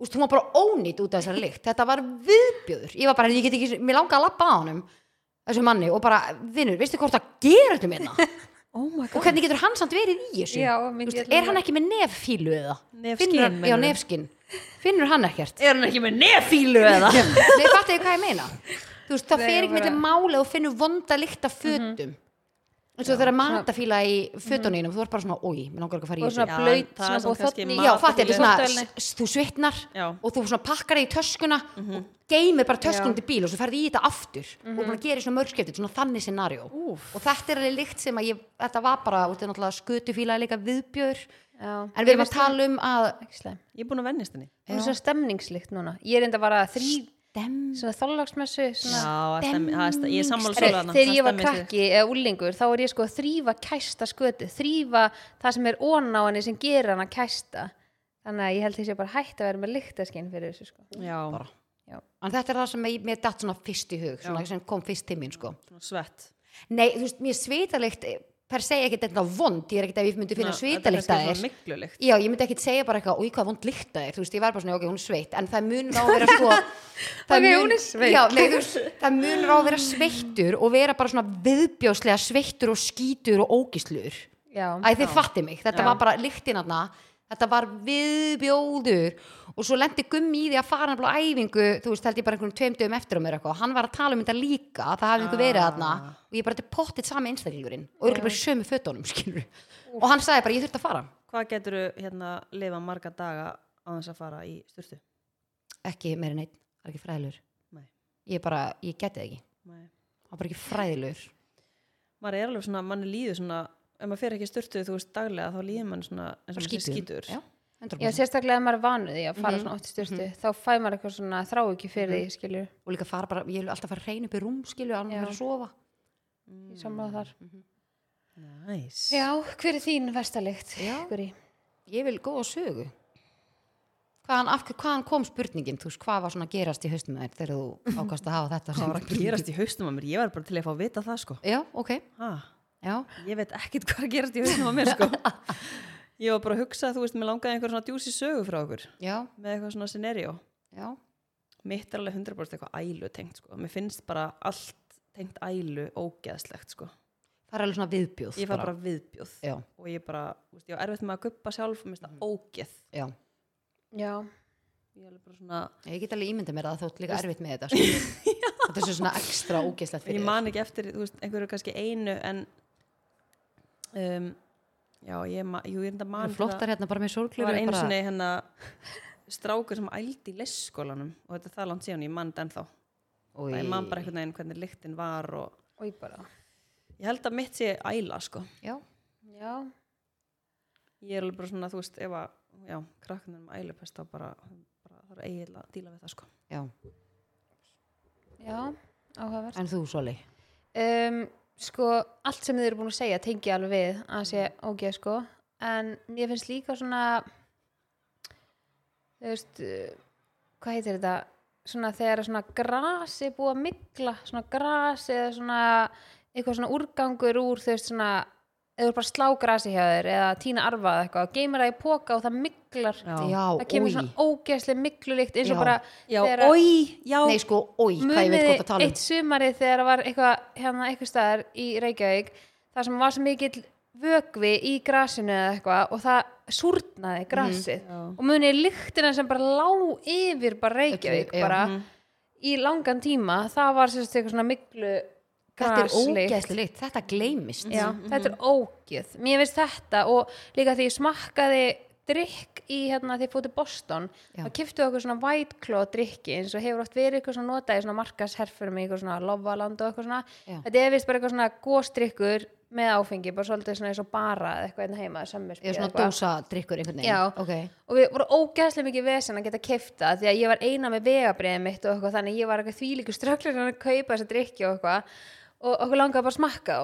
Speaker 2: úst, hún var bara ónýtt út af þessari lykt, þetta var viðbjöður ég var bara, ég get ekki, mér langa að labba á honum þessu manni og bara, vinnur, veistu hvort það um hérna?" gerur þetta minna
Speaker 1: oh my
Speaker 2: og hvernig getur hann samt verið í þessu
Speaker 3: Já,
Speaker 2: Þú
Speaker 3: myndi
Speaker 2: veist,
Speaker 3: ég ætla
Speaker 2: er hann ekki með neffílu eða
Speaker 1: Nefskinn,
Speaker 2: Finnur hann, já,
Speaker 1: meinarðu?
Speaker 2: nefskinn, finnur hann ekkert
Speaker 1: er hann ekki með nefílu eða
Speaker 2: nei, fattu ég hvað ég meina þú veist, það
Speaker 3: Nei,
Speaker 2: fer ekki
Speaker 3: bara- Mhm.
Speaker 2: með þetta máli og finnur vonda líkt af fötum eins og þegar matafíla í fötunum þú er bara svona, oi, mér langar ekki að fara í
Speaker 3: og
Speaker 2: þessu
Speaker 3: svona
Speaker 1: Já,
Speaker 3: blöyt
Speaker 1: en það er
Speaker 3: svona
Speaker 1: samt
Speaker 3: búið
Speaker 1: kannski
Speaker 3: þotni
Speaker 1: mat-
Speaker 2: já, fattu ég,
Speaker 1: í
Speaker 2: svona,
Speaker 3: kortelni.
Speaker 2: s- þú svitnar
Speaker 1: Já. Mhm.
Speaker 2: og þú svona pakkar það í töskuna og geymir bara töskun til bíl og svo ferði í þetta aftur og bara gerir svona mörgskeptið, svona þannig scenario
Speaker 1: Úff.
Speaker 2: og þetta er alveg líkt sem að ég, þetta var bara, þú veist, náttúrulega skutufíla er líka viðbjör
Speaker 3: Já.
Speaker 2: En við erum að tala um að
Speaker 3: ekki slæm
Speaker 1: ég er búin að vennist henni
Speaker 3: hún er svona stemningslikt núna ég er enda bara að þrý
Speaker 2: Dem.
Speaker 3: svona þorlagsmessu
Speaker 1: Já,
Speaker 3: svona
Speaker 1: það er stemmi- það er stemmi- ég er sammála
Speaker 3: Herru,
Speaker 1: svolana
Speaker 3: þegar ég var krakki eða úlingur þá er ég sko að þrýfa kæsta skötu þrýfa það sem er ón á henni sem gerir hann að kæsta þannig að ég held þess að ég bara hætti að vera með lyktaskinn fyrir þessu sko
Speaker 1: Já,
Speaker 2: En þetta er það sem ég, mér datt svona fyrst í hug, svona sem kom fyrst til mín, sko.
Speaker 1: svona svett
Speaker 2: Nei, þú veist, mér svitalikt per se ekkit eitthvað vond, ég er ekkit að ég myndi finna sko. svitalikt að þér.
Speaker 1: Miklulikt
Speaker 2: Já, ég myndi ekkit segja bara eitthvað, úi, hvað vond líkt að þér, þú veist, ég var bara svona, ok, hún er sveitt, en það mun rá að vera sko... það
Speaker 3: Ok,
Speaker 2: mun-
Speaker 3: hún er sveitt.
Speaker 2: Já, nei, þú veist, það mun rá að vera sveittur og vera bara svona viðbjóslega sveittur og skítur og ógislur.
Speaker 3: já,
Speaker 2: Æ, þið fatti mig, þetta
Speaker 1: Já.
Speaker 2: var bara lyktinarna þetta var viðbjóður og svo lendi gummi í því að fara nefnilega á æfingu, þú veist, held ég bara einhvern tveim dögum eftir á mér eitthvað, hann var að tala um þetta líka það hafði einhver verið
Speaker 1: Ah.
Speaker 2: þarna og ég bara, þetta er pottitt sami einstaklingurinn og örgulega bara í sömu fötunum, skilur og hann sagði bara, ég þurfti að fara,
Speaker 1: Hvað getur þú hérna lifa marga daga á þess að fara í sturtu?
Speaker 2: ekki meira neitt það er ekki fræðilur,
Speaker 1: Nei.
Speaker 2: ég bara ég geti það ekki,
Speaker 1: Nei.
Speaker 2: það var bara ekki fræðilur
Speaker 1: Maður er alveg svona, manni líður svona ef maður fer ekki í sturtu þú veist daglega þá líður mann svona eins og
Speaker 2: bara
Speaker 1: maður sé skítur
Speaker 2: skítur, Já, 100%.
Speaker 3: já sérstaklega ef maður er vanuð því að fara svona ótt í styrtu þá fæ maður eitthvað svona þrá ekki fyrir því skilur
Speaker 2: og líka fara bara, ég vil alltaf fara hrein upp í rúm skilur, alveg
Speaker 3: Já.
Speaker 2: vera að sofa
Speaker 3: í samláð þar
Speaker 1: Næs
Speaker 3: já, hver er þín verstalikt?
Speaker 2: Já. ég vil góða sögu hvaðan, af, hver- hvaðan kom spurningin þú veist, hvað var svona að gerast í haustum þér þegar þú ákast að hafa þetta
Speaker 1: Það var að gerast í haustum að mér, ég var bara til að fá að vita það sko
Speaker 2: já, ok,
Speaker 1: ha,
Speaker 2: já,
Speaker 1: Ég veit ekkit hvað er að gerast í haustum að mér sko Ég var bara að hugsa, þú veist, mér langaði einhver svona djúsi sögu frá okkur
Speaker 2: já,
Speaker 1: með eitthvað svona scenario
Speaker 2: já
Speaker 1: mitt er alveg 100% eitthvað ælu tengt sko. mér finnst bara allt tengt ælu ógeðslegt sko.
Speaker 2: það er alveg svona viðbjóð
Speaker 1: ég fær bara viðbjóð
Speaker 2: já,
Speaker 1: og ég bara, þú veist, ég var erfitt með að guppa sjálf og mér finnst það ógeð
Speaker 2: já,
Speaker 3: já,
Speaker 1: ég er alveg bara svona,
Speaker 2: ég get alveg ímyndað mér að þótt líka erfitt með þetta sko. þetta er svo svona ekstra ógeðslegt
Speaker 1: ég
Speaker 2: fyrir þér.
Speaker 1: man ekki eftir þú veist, einhverju kannski einu en um, já, ég, ma, jú, ég enda
Speaker 2: Það
Speaker 1: man
Speaker 2: eru flottar hérna bara með
Speaker 1: það var
Speaker 2: sorglegur
Speaker 1: einu
Speaker 2: bara,
Speaker 1: sinni hérna strákur sem ældi í lesskólanum og þetta er það langt síðan, ég man þetta ennþá
Speaker 2: Új,
Speaker 1: ég man bara einhvern veginn hvernig lyktin var og
Speaker 3: og ég bara
Speaker 1: ég held að mitt sé æla sko
Speaker 2: já,
Speaker 3: já,
Speaker 1: ég er alveg bara svona, þú veist, ef að já, krakkanum ælupest þá bara, bara það er eiginlega að díla við það sko
Speaker 2: já,
Speaker 3: já, áhugavert
Speaker 2: en þú Soli
Speaker 3: um, sko, allt sem þið eru búin að segja tengi ég alveg við að sé
Speaker 2: Mm.
Speaker 3: ógeð sko en mér finnst líka svona þú veist uh, hvað heitir þetta svona þegar svona grasi búið að mikla svona grasi eða svona eitthvað svona úrgangur úr þú veist svona eða þú ert bara að slá grasi hjá þér eða tína arfa eða eitthvað, geymir það í póka og það miklar
Speaker 1: Já.
Speaker 2: já,
Speaker 3: það kemur
Speaker 2: oj,
Speaker 3: svona ógeðslega miklulikt eins og
Speaker 2: Já.
Speaker 3: bara
Speaker 1: já,
Speaker 3: þegar-
Speaker 1: oi, já,
Speaker 2: nei sko, oi, hvað ég veit
Speaker 3: Munið
Speaker 2: gott að tala um
Speaker 3: eitt sumarið þegar það var eitthvað hérna eitthvað staðar í Reykjavík þar sem var svo mikill vögvi í grasinu eða eitthvað og það súrnaði
Speaker 2: Mhm.
Speaker 3: grasið
Speaker 1: Já.
Speaker 3: og munið lyktina sem bara lá yfir bara
Speaker 2: Öllu,
Speaker 3: Reykjavík
Speaker 2: já. Mhm.
Speaker 3: bara
Speaker 1: Mm.
Speaker 3: í langan tíma það var sérst eitthvað svona miklu
Speaker 2: þetta er
Speaker 3: graslykt.
Speaker 2: ógeðslegt, þetta gleymist
Speaker 3: Já, þetta er ógjöð. Mér finnst þetta og líka því ég smakkaði drikk í hérna þegar ég fór til Boston
Speaker 2: Já.
Speaker 3: þá kiftuðu okkur svona white claw drikki eins og hefur oft verið eitthvað svona notað í svona markasherfurum í eitthvað svona lovaland og eitthvað svona
Speaker 2: Já.
Speaker 3: þetta er vist bara eitthvað svona góstrykkur með áfengi, bara svolítið svona eins og bara eða eitthvað einn heima, samverfi
Speaker 2: Ég er svona dósadrykkur einhvern veginn.
Speaker 3: Já.
Speaker 2: Ok.
Speaker 3: og við vorum ógæðslega mikið vesen að geta kefta því að ég var eina með vegabriðið mitt og eitthvað þannig ég var eitthvað þvílíku strögglar að kaupa þessa drikki og eitthvað og okkur langaði bara að smakka á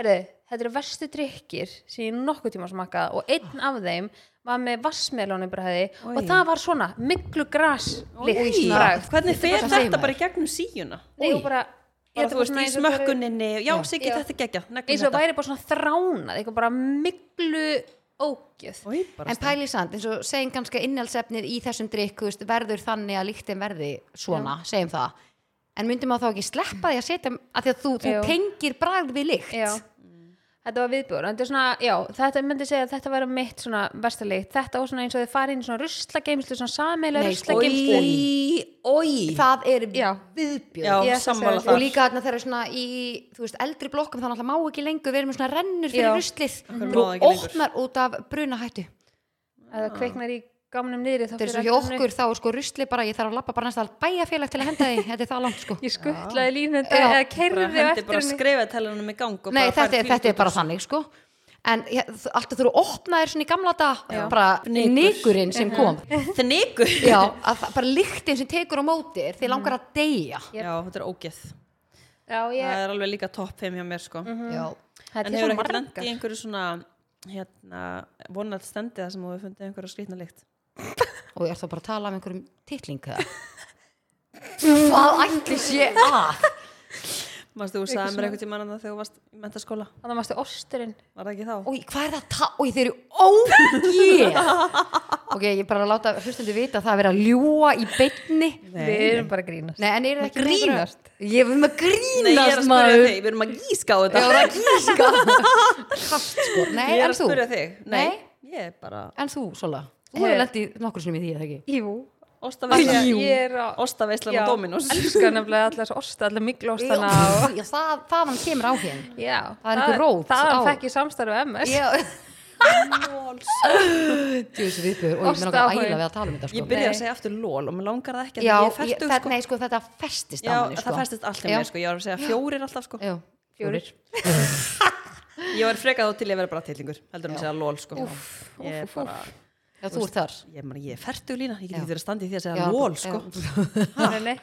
Speaker 3: herðu, þetta eru verstu drikkir sem ég nokkuð tíma smakkaði og einn af þeim var með vassmelónu bræði
Speaker 1: Oj.
Speaker 3: og það var svona, miklu gras
Speaker 1: oi,
Speaker 3: líkt bragð.
Speaker 1: hvernig
Speaker 2: bara
Speaker 1: fer
Speaker 2: svona
Speaker 1: þetta
Speaker 2: segir maður.
Speaker 1: bara í gegnum síuna
Speaker 3: Nei, og bara,
Speaker 1: bara,
Speaker 3: þetta
Speaker 1: þú
Speaker 3: var
Speaker 1: veist,
Speaker 3: svona
Speaker 1: í
Speaker 3: eins og bara-
Speaker 1: smökkuninni já,
Speaker 2: Já.
Speaker 1: Siggi,
Speaker 3: Já.
Speaker 1: þetta er gegja,
Speaker 3: eins
Speaker 1: neglum
Speaker 3: og
Speaker 1: þetta
Speaker 3: væri bara svona þránað eitthvað bara miklu ógjöð
Speaker 1: oi, bara
Speaker 2: En pæli samt, eins og segjum kannski að innhaldsefnið í þessum drykk, þú veist, verður þannig að líktin verði svona, segjum það. En myndum að þá ekki sleppa því að setja, að því að þú, þú
Speaker 3: Jú.
Speaker 2: tengir bragð við lykt.
Speaker 3: já. þetta var viðbjóður þetta, er svona, já, þetta ég myndi segja að þetta var mitt svona verstalikt, þetta og svona eins og þið farið inn í svona ruslageimslu, svona sameila
Speaker 2: Nei,
Speaker 3: ruslageimslu
Speaker 2: oj.
Speaker 1: oi,
Speaker 2: Það er
Speaker 3: Já.
Speaker 2: viðbjörn.
Speaker 1: já,
Speaker 3: Ég ætla að
Speaker 1: sammála
Speaker 3: segja
Speaker 1: það
Speaker 2: Og líka þarna þeirra svona í, þú veist, eldri blokkum, þannig að má ekki lengur, við erum með svona rennur fyrir
Speaker 3: Já.
Speaker 2: ruslið.
Speaker 1: Akkur má
Speaker 2: Þú
Speaker 1: það ekki lengur.
Speaker 2: opnar út af brunahættu.
Speaker 3: að það kveiknar í gamnum niðri þá
Speaker 2: Þetta er
Speaker 3: fer
Speaker 2: svo hjá
Speaker 3: allt í
Speaker 2: okkur, þá er sko ruslið bara, ég þarf að lappa bara næsta bæjarfélag til að henda því, þetta er það langt sko.
Speaker 3: einu. ég skuttlaði línu
Speaker 2: Já.
Speaker 3: eða
Speaker 1: bara
Speaker 3: kerði á
Speaker 1: hendi
Speaker 3: eftir
Speaker 1: bara
Speaker 3: henni
Speaker 1: skrifa talanum í gang og
Speaker 2: Nei,
Speaker 1: bara
Speaker 2: þetta,
Speaker 1: færð
Speaker 2: er- þetta er
Speaker 1: fínt út
Speaker 2: bara
Speaker 1: úr-
Speaker 2: þannig sko en ja, þ- alltaf þú eru opnaðir svona í gamla dag
Speaker 1: Já.
Speaker 2: bara
Speaker 1: Fnykur.
Speaker 2: nikurinn sem kom
Speaker 1: Þnigur
Speaker 2: já, að, það- bara lyktin sem tekur á móti þér þið langar að deyja
Speaker 3: Yep.
Speaker 1: Já, þetta er ógeð
Speaker 3: Já,
Speaker 1: Það
Speaker 3: ég,
Speaker 1: er alveg líka topp 5 hjá mér sko
Speaker 2: já,
Speaker 3: það er
Speaker 1: En
Speaker 3: til svo
Speaker 1: hefur ekkert lent í
Speaker 3: margar.
Speaker 1: einhverju svona hérna, vonat stendi það sem þú hefur fundið einhverja skrýtna lykt
Speaker 2: og ég er þá bara að tala um einhverjum titling eða? hvað ætli sé að
Speaker 1: Manstu, þú sagði mér einhvern tímann annað þegar þú varst í mentaskóla
Speaker 3: Þannig að mástu osturinn.
Speaker 1: Var það ekki þá?
Speaker 2: og hvað er það að ta og þeir eru ógeð ok, ég er bara að láta hlustandi vita að það er verið að ljúa í beinni
Speaker 3: Við erum bara að grínast.
Speaker 2: Nei, en eru það ekki með
Speaker 3: Grínast?
Speaker 2: einhverja- Ég við erum að
Speaker 1: Nei, ég er
Speaker 2: grínast
Speaker 1: að spyrja
Speaker 2: maður
Speaker 1: þig, við erum að gíska á þetta
Speaker 2: Ég var að gíska Kast sko, nei,
Speaker 1: Ég er
Speaker 2: en
Speaker 1: að
Speaker 2: þú
Speaker 1: spyrja þig Nei,
Speaker 2: Nei.
Speaker 1: ég er bara
Speaker 2: En þú, Sola, þú
Speaker 3: Eh.
Speaker 2: hefur lendið nokkur sinni með því, eða ekki?
Speaker 3: Jú.
Speaker 1: Óstaveisla
Speaker 2: Jú.
Speaker 3: Ég er á
Speaker 1: Óstaveislan og Dominus
Speaker 3: elskar nefnilega allar þessu osta, allar miklóstana og
Speaker 2: Já, það, það hann kemur á hér
Speaker 3: já,
Speaker 2: Það er einhver rót
Speaker 3: það
Speaker 2: á-
Speaker 3: fekk ég samstarf MS
Speaker 2: Já
Speaker 1: Ég
Speaker 2: Djúsi viðbjör og ég með
Speaker 3: Ástæða
Speaker 2: nokkað ægilega
Speaker 3: hún.
Speaker 2: við að tala um þetta sko
Speaker 1: byrja að
Speaker 3: Nei.
Speaker 1: segja aftur lól og mér langar það ekki að ég
Speaker 2: Já, ég, það,
Speaker 1: festug sko
Speaker 2: nei, sko, þetta
Speaker 1: Já,
Speaker 2: festist á manni sko
Speaker 1: það festist allt í
Speaker 2: Já.
Speaker 1: mér sko Ég var að segja fjórir alltaf sko
Speaker 2: Já, fjórir
Speaker 1: Ég var frekað þá til ég verið bara tillingur heldur en að segja lól sko Ég er bara
Speaker 2: Já, þú ert þar
Speaker 1: Ég, man, ég er fertug lína, ég get
Speaker 2: Já.
Speaker 1: ekki verið að standa í því að segja
Speaker 2: Já,
Speaker 1: lól
Speaker 2: já.
Speaker 1: sko
Speaker 3: nei, nei.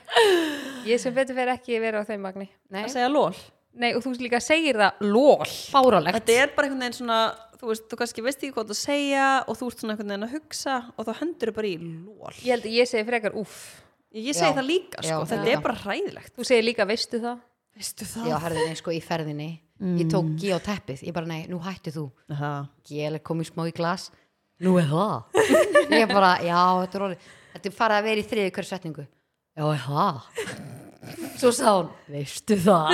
Speaker 3: ég sem betur fyrir ekki verið á þeim magni
Speaker 2: Nei,
Speaker 1: Að segja lól
Speaker 3: nei, og þú líka segir það lól
Speaker 2: fáralegt
Speaker 1: Þetta er bara einhvern veginn svona þú veist, þú kannski veist ekki hvað það að segja og þú ert svona einhvern veginn að hugsa og þá hendur þau bara í lól
Speaker 3: ég held að ég segi frekar úff
Speaker 1: Ég, ég segi
Speaker 2: Já.
Speaker 1: það líka sko,
Speaker 2: Já,
Speaker 1: þetta
Speaker 2: líka.
Speaker 1: er bara hræðilegt
Speaker 3: þú segir líka veistu það
Speaker 1: Veistu
Speaker 2: Já, herðið eins sko í ferðinni Ég tók gí á teppið, ég bara, nei, nú hættu þú
Speaker 1: það?
Speaker 2: gél er komið smá í glas nú er það ég bara, já, þetta er orðið þetta er farið að vera í þriði hverju setningu já, er það svo sá hún, veistu það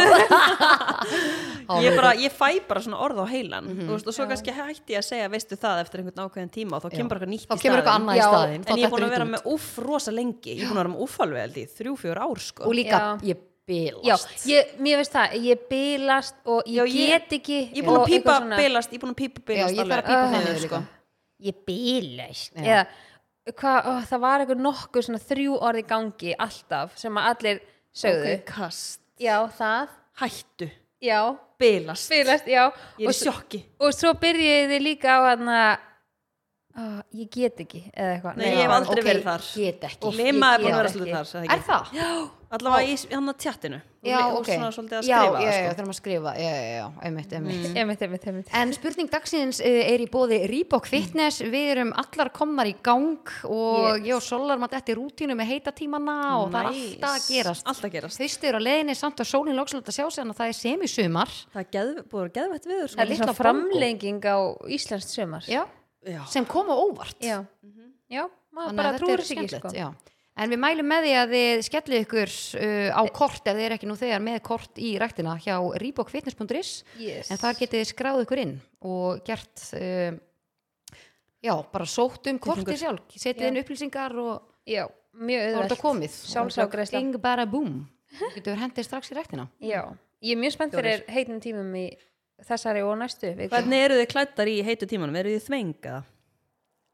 Speaker 1: Ég, bara, ég fæ bara svona orð á heilan
Speaker 2: Mhm.
Speaker 1: þú veist, og svo kannski hætti ég að segja veistu það eftir einhvern ákveðin tíma og þá kemur bara eitthvað nýtt
Speaker 2: þá
Speaker 1: í
Speaker 2: kemur
Speaker 1: staðinn.
Speaker 2: eitthvað annað í
Speaker 3: Já,
Speaker 2: staðinn þá
Speaker 1: En ég er
Speaker 2: dettur
Speaker 1: búin að
Speaker 2: þetta
Speaker 1: vera
Speaker 2: út.
Speaker 1: með uff rosa lengi Ég er búin að vera með uff alveg held í þrjú, fjör ár sko
Speaker 2: og líka,
Speaker 3: Já.
Speaker 2: ég
Speaker 3: já,
Speaker 2: bilast
Speaker 3: ég, mér veist það, ég bilast og ég,
Speaker 1: Já, ég-
Speaker 3: get ekki
Speaker 1: Ég er búin
Speaker 3: og
Speaker 1: að pípa
Speaker 3: eitthvað svona-
Speaker 1: bilast Ég er búin að pípa
Speaker 2: já,
Speaker 1: bilast
Speaker 2: ég þarf
Speaker 1: alveg
Speaker 2: að pípa sko.
Speaker 1: Ah.
Speaker 2: henni
Speaker 1: niður,
Speaker 2: líka
Speaker 3: ég bilast
Speaker 2: Já.
Speaker 3: eða hva, ó, það var eitthvað nokkuð svona þrjú orði gangi alltaf sem að allir sögðu
Speaker 1: Ok, kast
Speaker 3: já, það,
Speaker 1: Hættu,
Speaker 3: já,
Speaker 1: bilast
Speaker 3: bilast, já
Speaker 1: Ég er
Speaker 3: og
Speaker 1: í sjokki
Speaker 3: og svo byrjuði þið líka á hann að "Ah, ég get ekki eða eitthvað
Speaker 1: Nei, ég hef
Speaker 3: bara,
Speaker 1: aldrei
Speaker 2: ok,
Speaker 1: verið þar.
Speaker 2: get ekki
Speaker 1: Og Lima er
Speaker 3: ég
Speaker 1: búin að
Speaker 3: get
Speaker 1: vera svolítið
Speaker 3: ekki.
Speaker 1: þar sagði
Speaker 2: er
Speaker 1: ekki.
Speaker 2: það? já,
Speaker 1: Allavega í hann að tjattinu Og
Speaker 2: ok
Speaker 1: svona svolítið að
Speaker 2: já,
Speaker 1: skrifa
Speaker 2: já,
Speaker 1: það,
Speaker 2: já,
Speaker 1: sko.
Speaker 2: þurfum að skrifa já, já, já, einmitt, einmitt
Speaker 3: einmitt, einmitt, einmitt
Speaker 2: En spurning dagsins eh, er í bóði Reebok Fitness, við erum allar komnar í gang og
Speaker 3: Yes.
Speaker 2: ég og Solar maður þetta í rútínu með heita tímana og það er
Speaker 1: Nice.
Speaker 2: alltaf að gerast.
Speaker 1: Alltaf að gerast
Speaker 2: Þaustur á leiðinni samt að sólinn lokslega að sjá sig en það er semisumar.
Speaker 1: Það er geð- búið að geðvætt viður
Speaker 3: það
Speaker 1: sko.
Speaker 3: er
Speaker 2: litla
Speaker 3: svona
Speaker 2: bók.
Speaker 3: framlenging á Íslands sömar
Speaker 2: Já,
Speaker 1: Já.
Speaker 2: sem kom á óvart.
Speaker 3: já, já
Speaker 2: Mhm. Þannig
Speaker 3: maður
Speaker 2: að
Speaker 3: bara
Speaker 2: þetta
Speaker 3: trúir
Speaker 2: er
Speaker 3: sig ekki
Speaker 2: skemmtilegt,
Speaker 3: sko.
Speaker 2: já. En við mælum með því að þið skellið ykkur uh, á kort ef þið er ekki nú þegar með kort í ræktina hjá reebokfitness.is
Speaker 3: yes.
Speaker 2: en þar getið þið skráð ykkur inn og gert uh, já, bara sótt um kortið sjálf setið
Speaker 3: Já.
Speaker 2: inn upplýsingar og
Speaker 3: já, mjög
Speaker 2: það var
Speaker 3: auðvægt
Speaker 2: þetta komið
Speaker 3: Sjálfságreiðsla.
Speaker 2: Ding bara búm Þú getur hendið strax í ræktina
Speaker 3: já, Mm. ég er mjög spennt fyrir heitum tímum í þessari og næstu viku.
Speaker 1: Hvernig eru þið klættar í heitu tímanum? Eru þið þvengaða?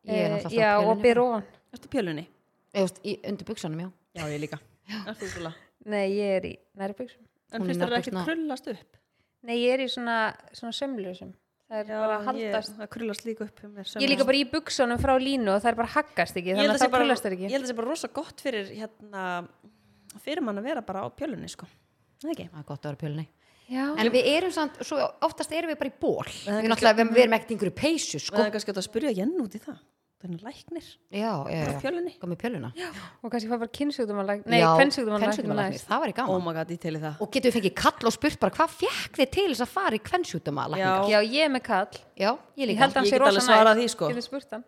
Speaker 2: Ég er
Speaker 3: Eh,
Speaker 2: náttúrulega
Speaker 3: já,
Speaker 2: á
Speaker 3: og
Speaker 2: pillunni
Speaker 3: byrja ofan
Speaker 1: Ertu pjölunni?
Speaker 2: Eða, þú veist, í- undir buksanum, já
Speaker 1: Já, ég líka Ertu svona?
Speaker 3: nei, ég er í nærbuksum
Speaker 1: En
Speaker 2: Hún er
Speaker 1: finnst þér
Speaker 2: nafnlaus
Speaker 1: ekki
Speaker 2: svona-
Speaker 1: krullast upp?
Speaker 3: nei, ég er í svona, svona sömlusum það er bara að
Speaker 1: ég-
Speaker 3: haldast
Speaker 1: það krullast líka upp hjá mér,
Speaker 3: ég er líka bara í buksunum frá línu og það er bara að haggast ekki
Speaker 1: Ég
Speaker 3: þannig
Speaker 1: held
Speaker 3: að
Speaker 1: að sé
Speaker 3: það
Speaker 1: bara,
Speaker 3: kullast ekki
Speaker 1: ég held að það sé bara rosa gott fyrir hérna, fyrir mann að vera bara á pjölunni sko. Það ekki?
Speaker 2: Það er gott að vera á pjölunni
Speaker 3: já,
Speaker 2: En við erum samt, svo oftast erum við bara í ból
Speaker 1: er
Speaker 2: Við náttúrulega, við, við erum ekkert í einhverju peysu,
Speaker 1: Það
Speaker 2: sko
Speaker 1: er kannski átt að spyrja Jenn út í það. Þannig læknir
Speaker 2: Já, já,
Speaker 1: á
Speaker 2: já,
Speaker 1: pjölunni.
Speaker 2: kom í pjöluna Já,
Speaker 3: og kannski fá bara kynnsugdumanlækni nei, kvensugdumanlækni
Speaker 2: kvensjúkdómalæknir, það var í
Speaker 1: Oh
Speaker 2: gaman
Speaker 1: my god, ég teli það.
Speaker 2: Og getum við fengið kall og spurt bara hvað fekk þið til þess að fara í kvensjúkdómalækningar?
Speaker 3: já, ég er með kall
Speaker 2: Já, ég
Speaker 3: ég
Speaker 2: líka
Speaker 3: held að hann
Speaker 1: Ég
Speaker 3: sé
Speaker 1: get alveg
Speaker 3: rosa
Speaker 1: svarað því, sko.
Speaker 3: Ég get spurt hann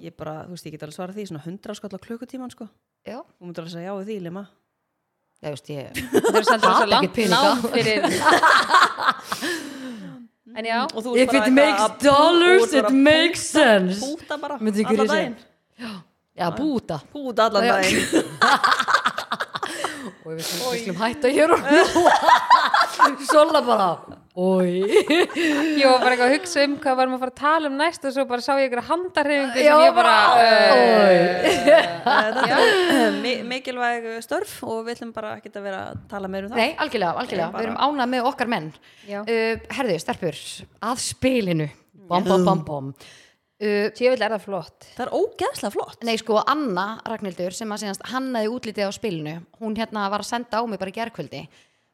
Speaker 1: Ég bara, þú veist, ég get alveg svarað því svona 100 skall á klukkutíman sko.
Speaker 2: Já,
Speaker 1: Þú myndir alveg segja já við því, Lima.
Speaker 2: Já, veist, ég
Speaker 3: það er samt
Speaker 2: Hata
Speaker 3: rosa
Speaker 2: ekki
Speaker 3: langt
Speaker 2: peninga.
Speaker 3: nám fyrir en já,
Speaker 1: Og þú ert bara eitthvað að- þú ert bara að púta- Púta bara,
Speaker 2: Myndi ekki
Speaker 1: alla
Speaker 2: segja.
Speaker 1: daginn.
Speaker 2: Já, búta
Speaker 1: Púta alla
Speaker 2: Já.
Speaker 1: daginn.
Speaker 2: Og við skulum- við skulum hætta hér og nú Sola bara Ói
Speaker 3: ég var bara eitthvað að hugsa um hvað varum að fara að tala um næst og svo bara sá ég ykkur handarhefingu
Speaker 2: Já,
Speaker 3: sem ég bara uh,
Speaker 2: bara,
Speaker 1: Eh, Þetta er mi- mikilvæg eh, störf og við ætlum bara ekkert að vera að tala meir um það.
Speaker 2: Nei, algjörlega, algjörlega
Speaker 1: Ég bara-
Speaker 2: Við erum ánað með okkar menn
Speaker 3: Já.
Speaker 2: uh, Herðu, stelpur, Eh, að spilinu bom, bom, bom, bom. Uh,
Speaker 3: Tjöfull er það flott.
Speaker 1: Það er ógeðslega flott.
Speaker 2: Nei, sko, Anna Ragnhildur sem að síðanst hannaði útlitið á spilinu hún hérna var að senda á mig bara í gerkvöldi